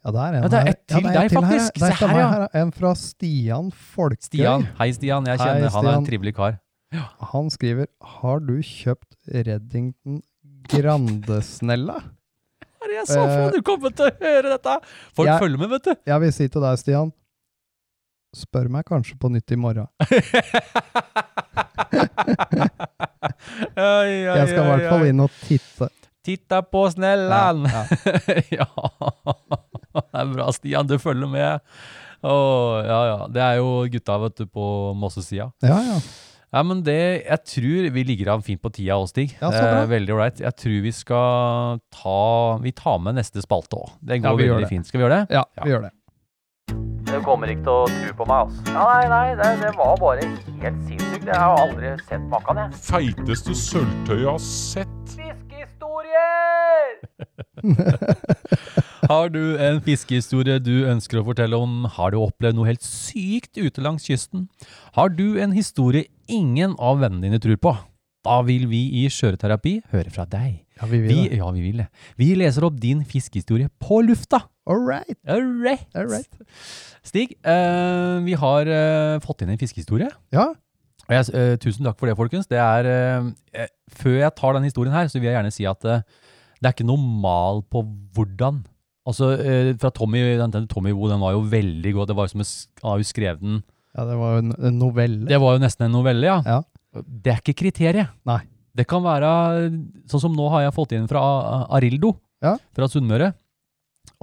S6: Ja, det er en
S5: Ja, det er
S6: her.
S5: ett til
S6: ja,
S5: deg,
S6: en her,
S5: faktisk.
S6: Det
S5: Se
S6: er stemmer,
S5: her,
S6: her, En fra Stian Folkøy.
S5: Stian. Hei, Stian. Jeg
S6: Hei,
S5: kjenner han er en
S6: Stian.
S5: trivelig kar.
S6: Han skriver Har du kjøpt Reddington Grandesnella?
S5: Hva er det jeg
S6: sa for noe?
S5: Du kommer til å høre dette! Folk
S6: Jeg-
S5: følger med, vet du.
S6: Jeg vil si til deg, Stian, spør meg kanskje på nytt i morgen. Jeg skal i hvert fall inn og titte.
S5: Titta på snellan!
S6: Ja,
S5: (laughs) Ja. Det er bra, Stian. Du følger med. Åh, ja, ja. Det er jo gutta vet du, på Mossesida.
S6: ja. ja.
S5: Ja, men det, jeg tror vi ligger an fint på tida òg, Stig.
S6: Ja, så bra.
S5: Eh, veldig ålreit. Jeg tror vi skal ta Vi tar med neste spalte òg. Det
S6: Ja,
S5: går
S6: vi gjør
S5: veldig
S6: det.
S5: fint. Skal vi gjøre det?
S6: (laughs) ja,
S5: Ja.
S6: vi gjør det.
S2: Du kommer ikke til å tro på meg, altså. Ja, nei, nei, det, det var bare helt sinnssykt. Jeg har aldri sett maken, jeg.
S3: Feiteste sølvtøyet jeg har sett.
S2: Fiskehistorier!
S5: Har du en fiskehistorie du ønsker å fortelle om? Har du opplevd noe helt sykt ute langs kysten? Har du en historie ingen av vennene dine tror på? Da vil vi i Skjøreterapi høre fra deg.
S6: Ja, vi vil
S5: Vi,
S6: det.
S5: ja, vi vil det. Vi leser opp din fiskehistorie på lufta.
S6: All right.
S5: All right.
S6: All right.
S5: Stig, eh, vi har eh, fått inn en fiskehistorie.
S6: Ja,
S5: Og jeg, eh, tusen takk for det, folkens. Det er, eh, eh, før jeg tar den historien her, så vil jeg gjerne si at eh, det er ikke noe mal på hvordan. Altså, eh, fra Tommy, den, den Tommy Wo, den var jo veldig god. Det var jo som en sk- han har jo skrevet den.
S6: ja det var jo en, en novelle.
S5: Det var jo nesten en novelle, ja.
S6: Ja.
S5: Det er ikke kriteriet.
S6: Nei.
S5: Det kan være, sånn som nå har jeg fått inn fra A- A- Arildo,
S6: Ja.
S5: fra Sunnmøre.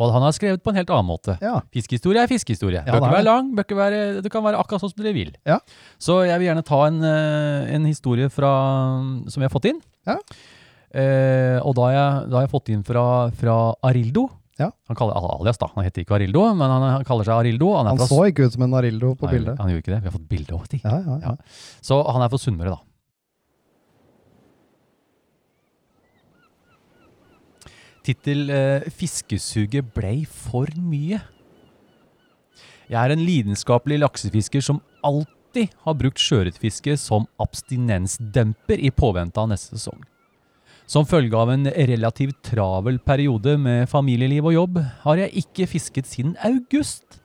S5: Og han har skrevet på en helt annen måte.
S6: Ja.
S5: Fiskehistorie er fiskehistorie.
S6: Ja,
S5: bør ikke
S6: det er
S5: være
S6: det.
S5: lang, bør ikke være, det kan være akkurat sånn som dere vil.
S6: Ja.
S5: Så jeg vil gjerne ta en, eh, en historie fra, som jeg har fått inn.
S6: Ja.
S5: Eh, og da har, jeg, da har jeg fått inn fra, fra Arildo.
S6: Ja.
S5: Han kaller alias da, han heter ikke Arildo, men han, han kaller seg Arildo. Han, er
S6: Han
S5: fra,
S6: så ikke ut som en Arildo på
S5: Nei,
S6: bildet.
S5: Han gjorde ikke det, vi har fått bilde også, Stig.
S6: Ja, ja, ja.
S5: Så han er fra Sunnmøre, da. Tittel eh, 'Fiskesuget blei for mye'. Jeg er en lidenskapelig laksefisker som alltid har brukt sjøørretfiske som abstinensdemper i påvente av neste sesong. Som følge av en relativt travel periode med familieliv og jobb, har jeg ikke fisket siden august.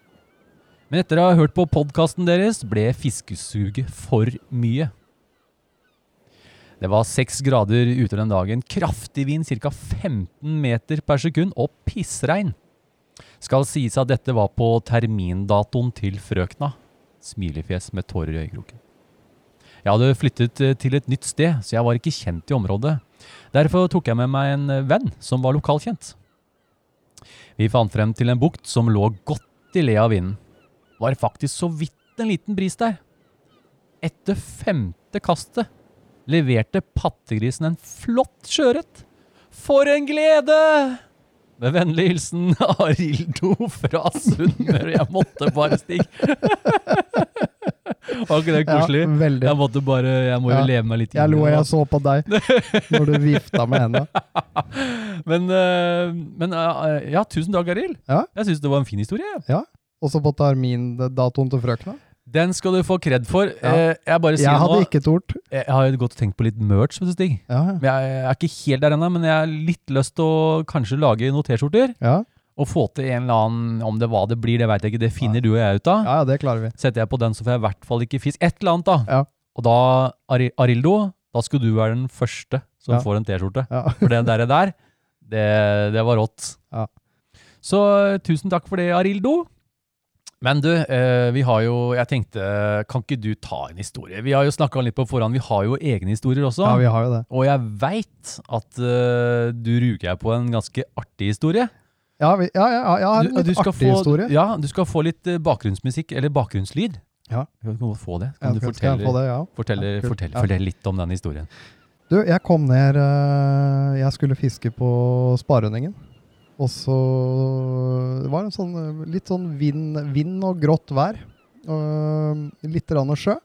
S5: Men etter å ha hørt på podkasten deres, ble fiskesuget for mye. Det var seks grader ute den dagen, kraftig vind ca. 15 meter per sekund og pissregn. Skal sies at dette var på termindatoen til frøkna. Smilefjes med tårer i øyekroken. Jeg hadde flyttet eh, til et nytt sted, så jeg var ikke kjent i området. Derfor tok jeg med meg en eh, venn som var lokalkjent. Vi fant frem til en bukt som lå godt i le av vinden var det faktisk så vidt en liten bris der. Etter femte kastet leverte pattegrisen en flott sjøørret. For en glede! Med vennlig hilsen (laughs) Arildo fra Sunnmøre. Jeg måtte bare stikke. (laughs) Var ikke det koselig?
S6: Ja, veldig.
S5: jeg måtte bare, jeg må jo
S6: Ja.
S5: leve meg litt
S6: Jeg
S5: i
S6: lo
S5: det, da.
S6: jeg så på (laughs) deg når du vifta med henda.
S5: Men, eh, men eh, ja, tusen takk, Arild.
S6: Ja.
S5: Jeg syns det var en fin historie. jeg.
S6: Og så på termindatoen til frøkna. Den
S5: Den skal du få kred for.
S6: Ja.
S5: Eh, Jeg bare sier
S6: jeg hadde
S5: nå,
S6: ikke tort.
S5: jeg har jo gått og tenkt på litt merch, vet du, Stig.
S6: Ja, ja.
S5: Men Jeg jeg er ikke helt der ennå, men jeg har litt lyst til å kanskje lage noen T-skjorter.
S6: Ja,
S5: Og få til en eller annen Om det hva det blir, det veit jeg ikke. Det finner du og jeg ut av.
S6: ja, ja det klarer vi.
S5: Setter jeg på den, så får jeg i hvert fall ikke fisk. Et eller annet, da.
S6: Ja.
S5: Og da, Ari- Arildo, da skulle du være den første som
S6: Ja.
S5: får en T-skjorte.
S6: Ja.
S5: For det der, der det, det var rått.
S6: Ja.
S5: Så eh, tusen takk for det, Arildo. Men du, eh, vi har jo Jeg tenkte, kan ikke du ta en historie? Vi har jo snakka litt på forhånd. Vi har jo egne historier også.
S6: Ja, vi har jo det.
S5: Og jeg veit at eh, du ruger deg på en ganske artig historie.
S6: Ja, vi, ja, ja, ja jeg har en
S5: Du-
S6: litt
S5: du skal
S6: artig
S5: få,
S6: historie.
S5: Ja, du skal få litt eh, bakgrunnsmusikk, eller bakgrunnslyd.
S6: Ja.
S5: Du kan godt få det.
S6: Ja,
S5: Kan du
S6: skal- skal jeg
S5: fortelle,
S6: få det, ja.
S5: fortelle,
S6: Ja, kult.
S5: fortelle,
S6: Ja.
S5: fortelle litt om den historien?
S6: Du, jeg kom ned eh, Jeg skulle fiske på Sparønningen. Og så Det var en sånn, eh, litt sånn vind, vind og grått vær. Og eh, litt rann sjø.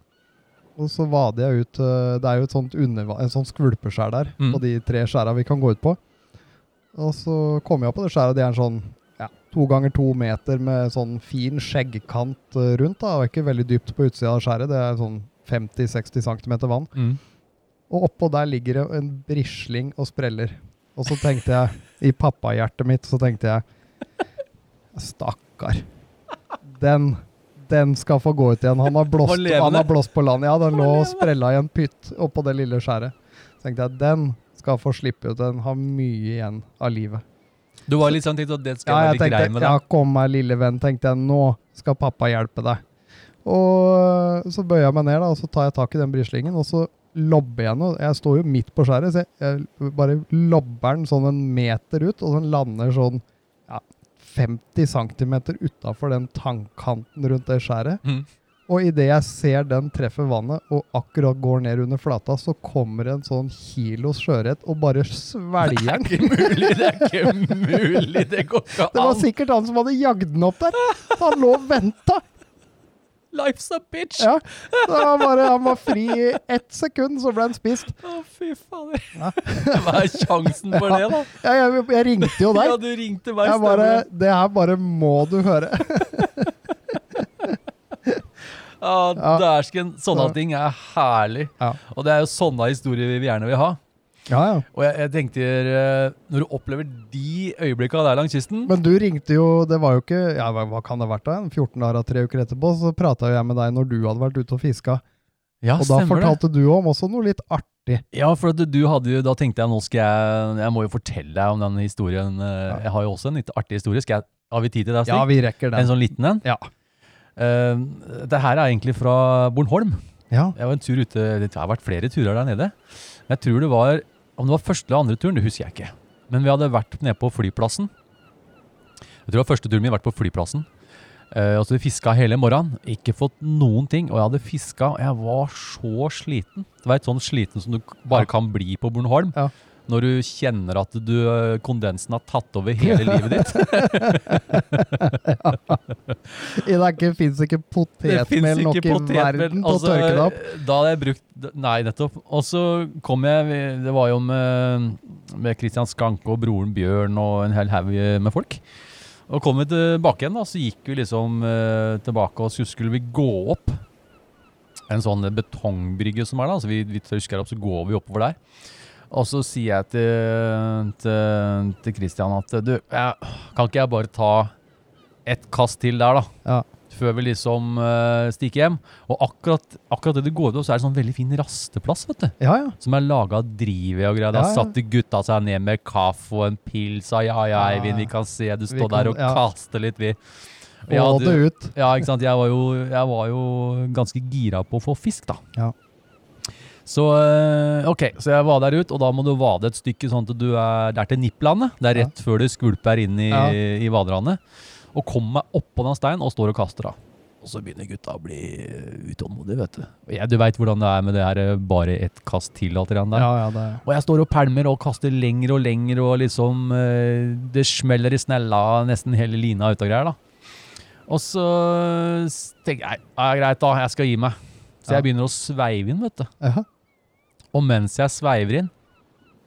S6: Og så vader jeg ut eh, Det er jo et sånt underva, en sånn skvulpeskjær der,
S5: Mm.
S6: på de tre skjæra vi kan gå ut på. Og så kom jeg opp på det skjæret. Det er en sånn ja, to ganger to meter med sånn fin skjeggkant eh, rundt. da, og Ikke veldig dypt på utsida av skjæret. Det er sånn 50-60 cm vann. Og oppå der ligger det en brisling og spreller. Og så tenkte jeg, i pappahjertet mitt, så tenkte jeg Stakkar. Den, den skal få gå ut igjen. Han har blåst,
S5: Var levende?
S6: han har blåst på land. Ja, den lå og sprella i en pytt oppå det lille skjæret. Så tenkte jeg, den skal få slippe ut. Den har mye igjen av livet.
S5: Du var litt sånn tenkt at det skal
S6: Ja,
S5: være
S6: jeg
S5: litt grei
S6: tenkte,
S5: med
S6: ja,
S5: deg.
S6: kom her, lille venn, tenkte jeg, nå skal pappa hjelpe deg. Og øh, så bøyer jeg meg ned, da, og så tar jeg tak i den brislingen, og så lobber jeg den. Jeg står jo midt på skjæret, så jeg, jeg bare lobber den sånn en meter ut, og den lander sånn ja, 50 cm utafor den tangkanten rundt det skjæret.
S5: Mhm.
S6: Og idet jeg ser den treffer vannet og akkurat går ned under flata, så kommer en sånn kilos sjøørret og bare svelger den.
S5: Det er ikke mulig, det er ikke mulig! Det går ikke
S6: Det var
S5: an!
S6: sikkert han som hadde jagd den opp der. Han lå og venta.
S5: Life's a bitch!
S6: Ja, så han, bare, han var fri i ett sekund, så ble han spist.
S5: Å, fy fader. (laughs) Hva er sjansen for det, da?
S6: Ja, jeg, jeg ringte
S5: (laughs)
S6: jo
S5: Ja,
S6: deg.
S5: du ringte meg,
S6: Jeg bare, det her bare må du høre.
S5: Ja, Dæsken. Sånne
S6: Ja.
S5: ting er herlig.
S6: Ja.
S5: Og det er jo sånne historier vi gjerne vil ha.
S6: Ja, ja.
S5: Og jeg, jeg tenkte, eh, når du opplever de øyeblikkene der langs kysten
S6: Men du ringte jo Det var jo ikke ja, hva, hva kan det ha vært da? En 14 dager, tre uker etterpå, så prata jeg med deg når du hadde vært ute og fiska.
S5: Ja,
S6: Og da
S5: stemmer det.
S6: fortalte du om også noe litt artig.
S5: Ja, for at du hadde jo, da tenkte jeg nå skal jeg, jeg må jo fortelle deg om den historien. eh, Jeg har jo også en litt artig historie. Skal jeg, har vi tid til det, Stig?
S6: vi rekker
S5: En sånn liten en?
S6: Ja.
S5: Eh, det her er egentlig fra Bornholm.
S6: Ja.
S5: Jeg var en tur ute, det har vært flere turer der nede. Men jeg tror det var, om det var første eller andre turen, det husker jeg ikke. Men vi hadde vært nede på flyplassen. Jeg tror det var første turen min, vært på flyplassen. Eh, og så vi fiska hele morgenen, ikke fått noen ting. Og jeg hadde fiska, og jeg var så sliten. Du veit sånn sliten som du k- bare kan bli på Bornholm.
S6: Ja.
S5: Når du kjenner at du, eh, kondensen har tatt over hele livet ditt.
S6: Det fins ikke potetmel nok i verden
S5: Altså,
S6: til å tørke det opp.
S5: Da hadde jeg brukt Nei, nettopp. Og så kom jeg Det var jo med, med Christian Skanke og broren Bjørn og en hel haug med folk. Og kom vi tilbake igjen, da, så gikk vi liksom eh, tilbake og så skulle vi gå opp en sånn betongbrygge som er da. Så vi, vi tørsker opp, så går vi oppover der. Og så sier jeg til, til, til Christian at du, jeg, kan ikke jeg bare ta et kast til der, da?
S6: Ja.
S5: før vi liksom eh, stikker hjem. Og akkurat, akkurat det du går ut, så er det sånn veldig fin rasteplass, vet du.
S6: Ja, ja.
S5: Som er laga av drivved og greier. Da
S6: Ja, ja.
S5: satte gutta seg ned med kaffe og en pils. Og ja, ja,
S6: Ja, ja.
S5: Eivind, vi kan se du
S6: Vi
S5: står
S6: kan-
S5: der og
S6: ja.
S5: kaster litt, vi. Og jeg
S6: Få
S5: hadde-
S6: det ut.
S5: ja, ikke sant. Jeg var jo, jeg var jo ganske gira på å få fisk, da.
S6: Ja.
S5: Så eh, ok, så jeg var der ut, og da må du vade et stykke sånn at du er der til Nipplandet. Det er
S6: Ja.
S5: rett før du skvulper inn i,
S6: Ja.
S5: i vaderandet. Og kom meg oppå den steinen og står og kaster da. Og så begynner gutta å bli eh, utålmodige, vet du. Og jeg, du veit hvordan det er med det her eh, bare ett kast til alt det der.
S6: Ja, ja, det
S5: Og jeg står og pælmer og kaster lenger og lenger, og liksom eh, Det smeller i snella nesten hele lina ut og greier, da. Og så s- tenker jeg ja, greit, da. Jeg skal gi meg. Så
S6: Ja.
S5: jeg begynner å sveive inn, vet du.
S6: ja.
S5: Og mens jeg sveiver inn,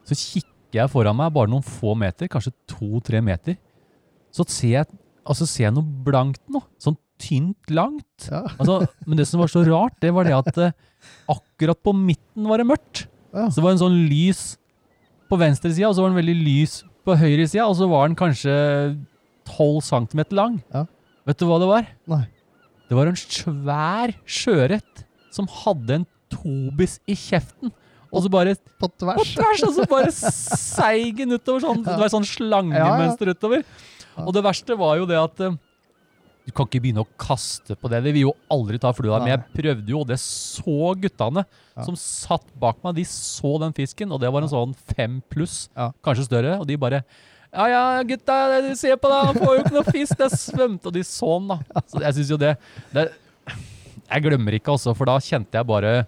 S5: så kikker jeg foran meg bare noen få meter, kanskje to-tre meter. Så ser jeg, altså ser jeg noe blankt nå. Sånn tynt, langt.
S6: Ja.
S5: Altså, men det som var så rart, det var det at eh, akkurat på midten var det mørkt.
S6: Ja.
S5: Så det var en sånn lys på venstre sida, og så var den veldig lys på høyre sida, og så var den kanskje 12 cm lang.
S6: Ja.
S5: Vet du hva det var?
S6: Nei.
S5: Det var en svær sjøørret som hadde en tobis i kjeften. Og så bare
S6: På
S5: på
S6: tvers.
S5: tvers, og så bare seig den utover. Sånn, det var sånn slangemønster utover.
S6: Ja.
S5: Og det verste var jo det at eh, du kan ikke begynne å kaste på det. Vi vil jo aldri ta flua. Men
S6: Nei.
S5: jeg prøvde jo, og det så guttene
S6: Ja.
S5: som satt bak meg. De så den fisken, og det var en sånn fem pluss,
S6: Ja.
S5: kanskje større. Og de bare Ja ja, gutta, se på deg, han får jo ikke noe fisk! Det svømte, og de så den, da. Så jeg syns jo det, det Jeg glemmer ikke, altså, for da kjente jeg bare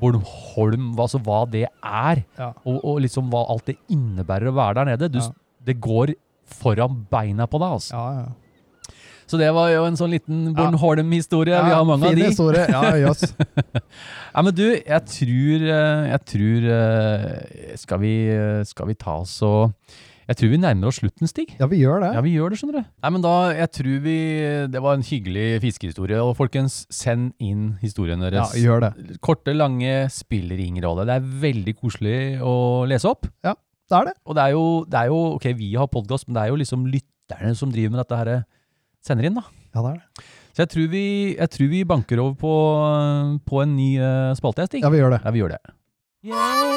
S5: Bornholm, altså hva det er,
S6: Ja.
S5: og, og liksom hva alt det innebærer å være der nede. Du, s-
S6: Ja.
S5: Det går foran beina på deg, altså.
S6: Ja, ja.
S5: Så det var jo en sånn liten Bornholm-historie. Vi har mange
S6: fin
S5: av de.
S6: historie. Ja, jøss.
S5: Ja, men du, jeg tror, eh, jeg tror eh, skal, vi, eh, skal vi ta oss og Jeg tror vi nærmer oss slutten, Stig.
S6: Ja, vi gjør det.
S5: Ja, vi gjør det, skjønner du. Nei, men da, jeg tror vi Det var en hyggelig fiskehistorie. Og folkens, send inn historiene
S6: Ja,
S5: deres.
S6: gjør det.
S5: Korte, lange spiller ingen rolle. Det er veldig koselig å lese opp.
S6: Det er det.
S5: Og det er jo, det er jo ok, vi har podkast, men det er jo liksom lytterne som driver med dette her, eh, sender inn, da.
S6: Ja, det er det.
S5: Så jeg tror vi, jeg tror vi banker over på, eh, på en ny eh, spalte, jeg, Stig.
S6: Ja, vi gjør det.
S5: Ja, vi gjør det.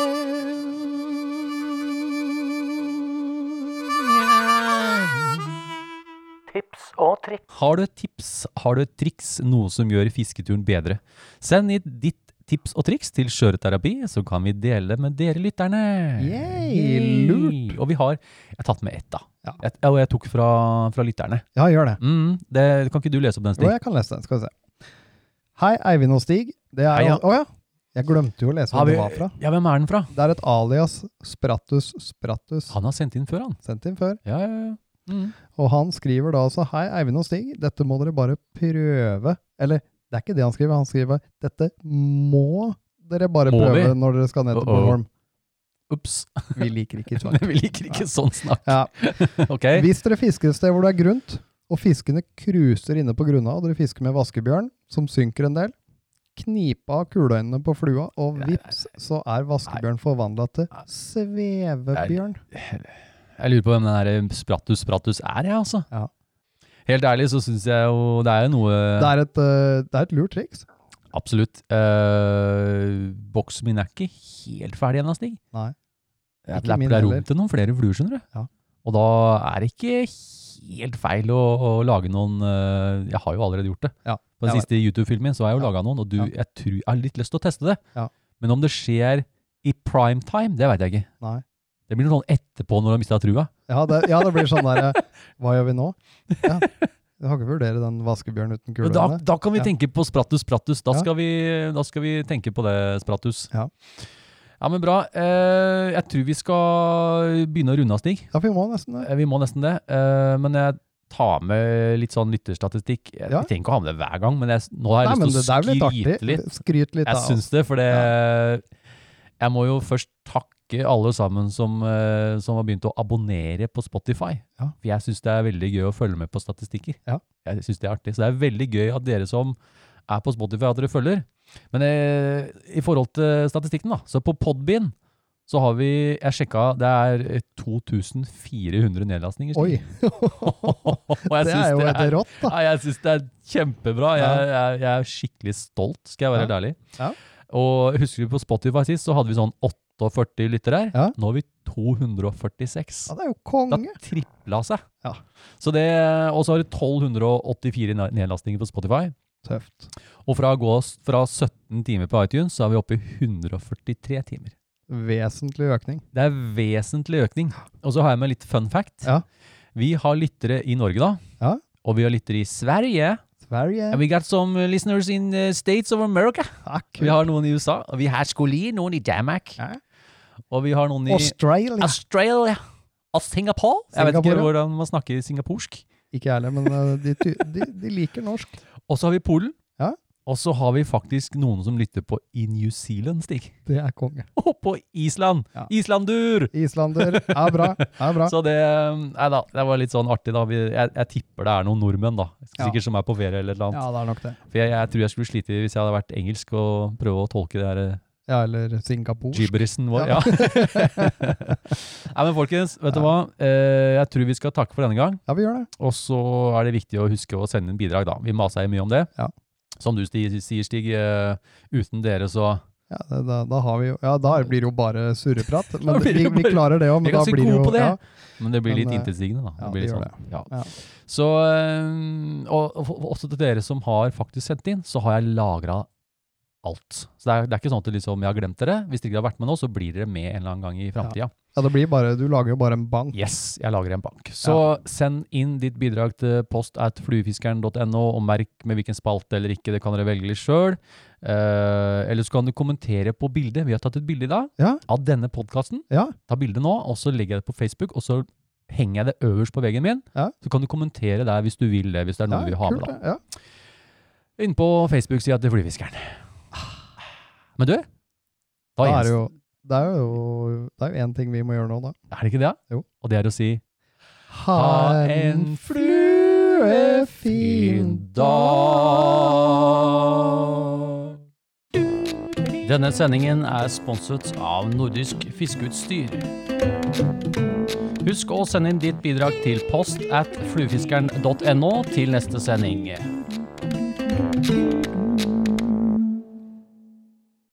S2: Tips og triks.
S5: Har du et tips, har du et triks, noe som gjør fisketuren bedre? Send inn ditt tips og triks til Skjøreterapi, så kan vi dele med dere lytterne.
S6: Yay,
S5: Yay.
S6: lurt.
S5: Og vi har Jeg har tatt med ett, da.
S6: Ja.
S5: Et, og jeg tok fra, fra lytterne.
S6: Ja, gjør det.
S5: Mm, det, kan ikke du lese opp den,
S6: Jo,
S5: Stig?
S6: jeg kan lese den. Skal vi se. Hei, Eivind og Stig. Det
S5: Hei,
S6: er
S5: ja.
S6: Å ja. Jeg glemte jo å lese
S5: Har
S6: hvor
S5: vi-
S6: det var fra.
S5: Ja, hvem er den fra?
S6: Det er et alias Sprattus Sprattus.
S5: Han har sendt inn før, han.
S6: Sendt inn før.
S5: Ja, ja, ja. Mm.
S6: Og han skriver da altså Hei, Eivind og Stig. Dette må dere bare prøve. Eller, Det er ikke det han skriver. Han skriver dette må dere bare
S5: Må
S6: prøve
S5: vi?
S6: når dere skal ned til
S5: Uh-oh.
S6: Bornholm.
S5: Ops.
S6: Vi liker
S5: (laughs)
S6: ikke sjark.
S5: Vi liker ikke sånn snakk.
S6: Ja.
S5: Ok.
S6: Hvis dere fisker et sted hvor det er grunt, og fiskene kruser inne på grunna, og dere fisker med vaskebjørn, som synker en del, knip av kuleøynene på flua, og vips, så er vaskebjørn forvandla til svevebjørn.
S5: Jeg lurer på hvem den her Sprattus Sprattus er, jeg, altså.
S6: Ja.
S5: Helt ærlig så syns jeg jo det er jo noe
S6: Det er et, eh, det er et lurt triks.
S5: Absolutt. Eh, boksen min er ikke helt ferdig ennå, Stig.
S6: Nei.
S5: Jeg
S6: Ikke min
S5: lapper det er rom
S6: heller.
S5: til noen flere fluer, skjønner du.
S6: Ja.
S5: Og da er det ikke helt feil å, å lage noen eh, Jeg har jo allerede gjort det.
S6: Ja,
S5: På den
S6: jeg
S5: siste YouTube-filmen min så har jeg jo
S6: Ja.
S5: laga noen, og du,
S6: Ja.
S5: jeg, tror, jeg har litt lyst til å teste det.
S6: Ja.
S5: Men om det skjer i prime time, det veit jeg ikke.
S6: Nei.
S5: Det blir noe sånn etterpå når du har mista trua.
S6: Ja, det, ja, det blir sånn der eh, Hva gjør vi nå? Ja. Du kan ikke vurdere den vaskebjørn uten
S5: Men Da,
S6: kuleøyne.
S5: da kan vi
S6: Ja.
S5: tenke på Sprattus Sprattus. Da,
S6: Ja.
S5: skal vi, da skal vi tenke på det, Sprattus.
S6: Ja.
S5: Ja, men bra. Eh, jeg tror vi skal begynne å runde av, Stig.
S6: Ja, for vi må nesten det.
S5: Eh, Vi må nesten det. Eh, men jeg tar med litt sånn lytterstatistikk. Jeg
S6: Ja.
S5: jeg trenger ikke å ha med det hver gang, men jeg, nå har
S6: Nei,
S5: jeg
S6: men
S5: lyst
S6: det, det er
S5: til å
S6: vel litt
S5: skryte
S6: artig.
S5: litt.
S6: Skryt litt
S5: Jeg
S6: av
S5: syns det, for det Jeg må jo først takke alle sammen som, eh, som har begynt å abonnere på Spotify.
S6: Ja.
S5: For jeg syns det er veldig gøy å følge med på statistikker.
S6: Ja.
S5: Jeg synes det er artig. Så det er veldig gøy at dere som er på Spotify, at dere følger. Men eh, i forhold til statistikken, da. Så på Podbean så har vi Jeg sjekka, det er eh, 2400 nedlastninger. (laughs) Stig.
S6: Oi!
S5: Og jeg
S6: Det er
S5: synes
S6: jo
S5: det
S6: et
S5: er
S6: rått, da.
S5: ja, jeg syns det er kjempebra. Jeg, jeg, jeg er skikkelig stolt, skal jeg være
S6: Ja.
S5: helt ærlig.
S6: Ja.
S5: Og husker du på Spotify sist, så hadde vi sånn 48 lyttere her.
S6: Ja.
S5: Nå har vi 246.
S6: Ja, det er jo
S5: Det
S6: konge.
S5: har tripla seg.
S6: Ja.
S5: Så det, og så har du 1284 ned- nedlastinger på Spotify.
S6: Tøft.
S5: Og fra å gå s- fra 17 timer på iTunes, så er vi oppe i 143 timer.
S6: Vesentlig økning.
S5: Det er vesentlig økning. Og så har jeg med litt fun fact.
S6: Ja.
S5: Vi har lyttere i Norge, da.
S6: Ja.
S5: Og vi har lyttere i Sverige.
S6: Sverige.
S5: And we got some uh, listeners in uh, States of America.
S6: Ja,
S5: Vi
S6: kult.
S5: har noen i USA, og vi har Skoli, noen i Danmark,
S6: Ja.
S5: og vi har noen i
S6: Australia.
S5: Altså- Australia og Singapore. Jeg vet ikke
S6: Singapore, ja.
S5: hvordan man snakker singaporsk.
S6: Ikke jeg heller, men eh, de, ty- de, de liker norsk.
S5: Og så har vi Polen.
S6: Ja.
S5: Og så har vi faktisk noen som lytter på i New Zealand, Stig. (laughs)
S6: Det er konge.
S5: Og på Island!
S6: Ja.
S5: Islandur!
S6: Islander er bra. er bra.
S5: Så det um, Nei da, det var litt sånn artig, da. Vi, jeg, jeg tipper det er noen nordmenn, da.
S6: Ja.
S5: Sikkert som er på ferie eller et eller
S6: Ja,
S5: annet.
S6: det er nok det.
S5: For jeg, jeg tror jeg skulle slite hvis jeg hadde vært engelsk og prøve å tolke det her eh,
S6: Ja, eller Singapore.
S5: Gibberisen vår, ja.
S6: Ja.
S5: (laughs) Nei, men folkens, vet du hva? Eh, Jeg tror vi skal takke for denne gang,
S6: Ja, vi gjør det.
S5: og så er det viktig å huske å sende inn bidrag, da. Vi maser jo mye om det.
S6: Ja.
S5: Som du Stig, sier, Stig, eh, uten dere så
S6: Ja, det, da, da har vi jo Ja, da blir det jo bare
S5: (laughs)
S6: surreprat. Men
S5: blir det
S6: vi,
S5: jo
S6: vi
S5: bare-
S6: klarer det òg,
S5: Vi
S6: men
S5: er
S6: da
S5: ganske
S6: blir det
S5: gode
S6: jo
S5: på det.
S6: ja,
S5: Men det blir
S6: Men,
S5: litt
S6: eh,
S5: intetsigende, da.
S6: ja,
S5: blir
S6: det
S5: litt sånn,
S6: gjør
S5: Ja.
S6: Ja.
S5: Så, eh, og, og for- også til dere som har faktisk sendt inn, så har jeg lagra alt. Så det er, det er ikke sånn at det liksom, jeg har glemt dere. Hvis dere ikke har vært med nå, så blir dere med en eller annen gang i framtida.
S6: ja, det blir bare Du lager jo bare en bank.
S5: Yes, jeg lager en bank. Så send inn ditt bidrag til post at fluefiskeren.no, og merk med hvilken spalte eller ikke, det kan dere velge sjøl. Eh, eller så kan du kommentere på bildet. Vi har tatt et bilde i dag
S6: Ja.
S5: av denne podkasten.
S6: Ja.
S5: Ta bildet nå, og så legger jeg det på Facebook, og så henger jeg det øverst på veggen min.
S6: Ja.
S5: Så kan du kommentere der hvis du vil det, hvis det er
S6: Ja,
S5: noe du vil ha med.
S6: kult,
S5: da.
S6: det. Ja.
S5: Inn på Facebook-sida til Fluefiskeren. Men du, da
S6: Ah. Da er det
S5: gjenstår
S6: jo Det er jo Det er jo én ting vi må gjøre nå, da.
S5: Er det ikke det?
S6: Jo.
S5: Og det er å si
S6: Ha en fluefin
S5: dag.
S1: Denne sendingen er sponset av Nordisk Fiskeutstyr. Husk å sende inn ditt bidrag til post at fluefiskeren.no til neste sending.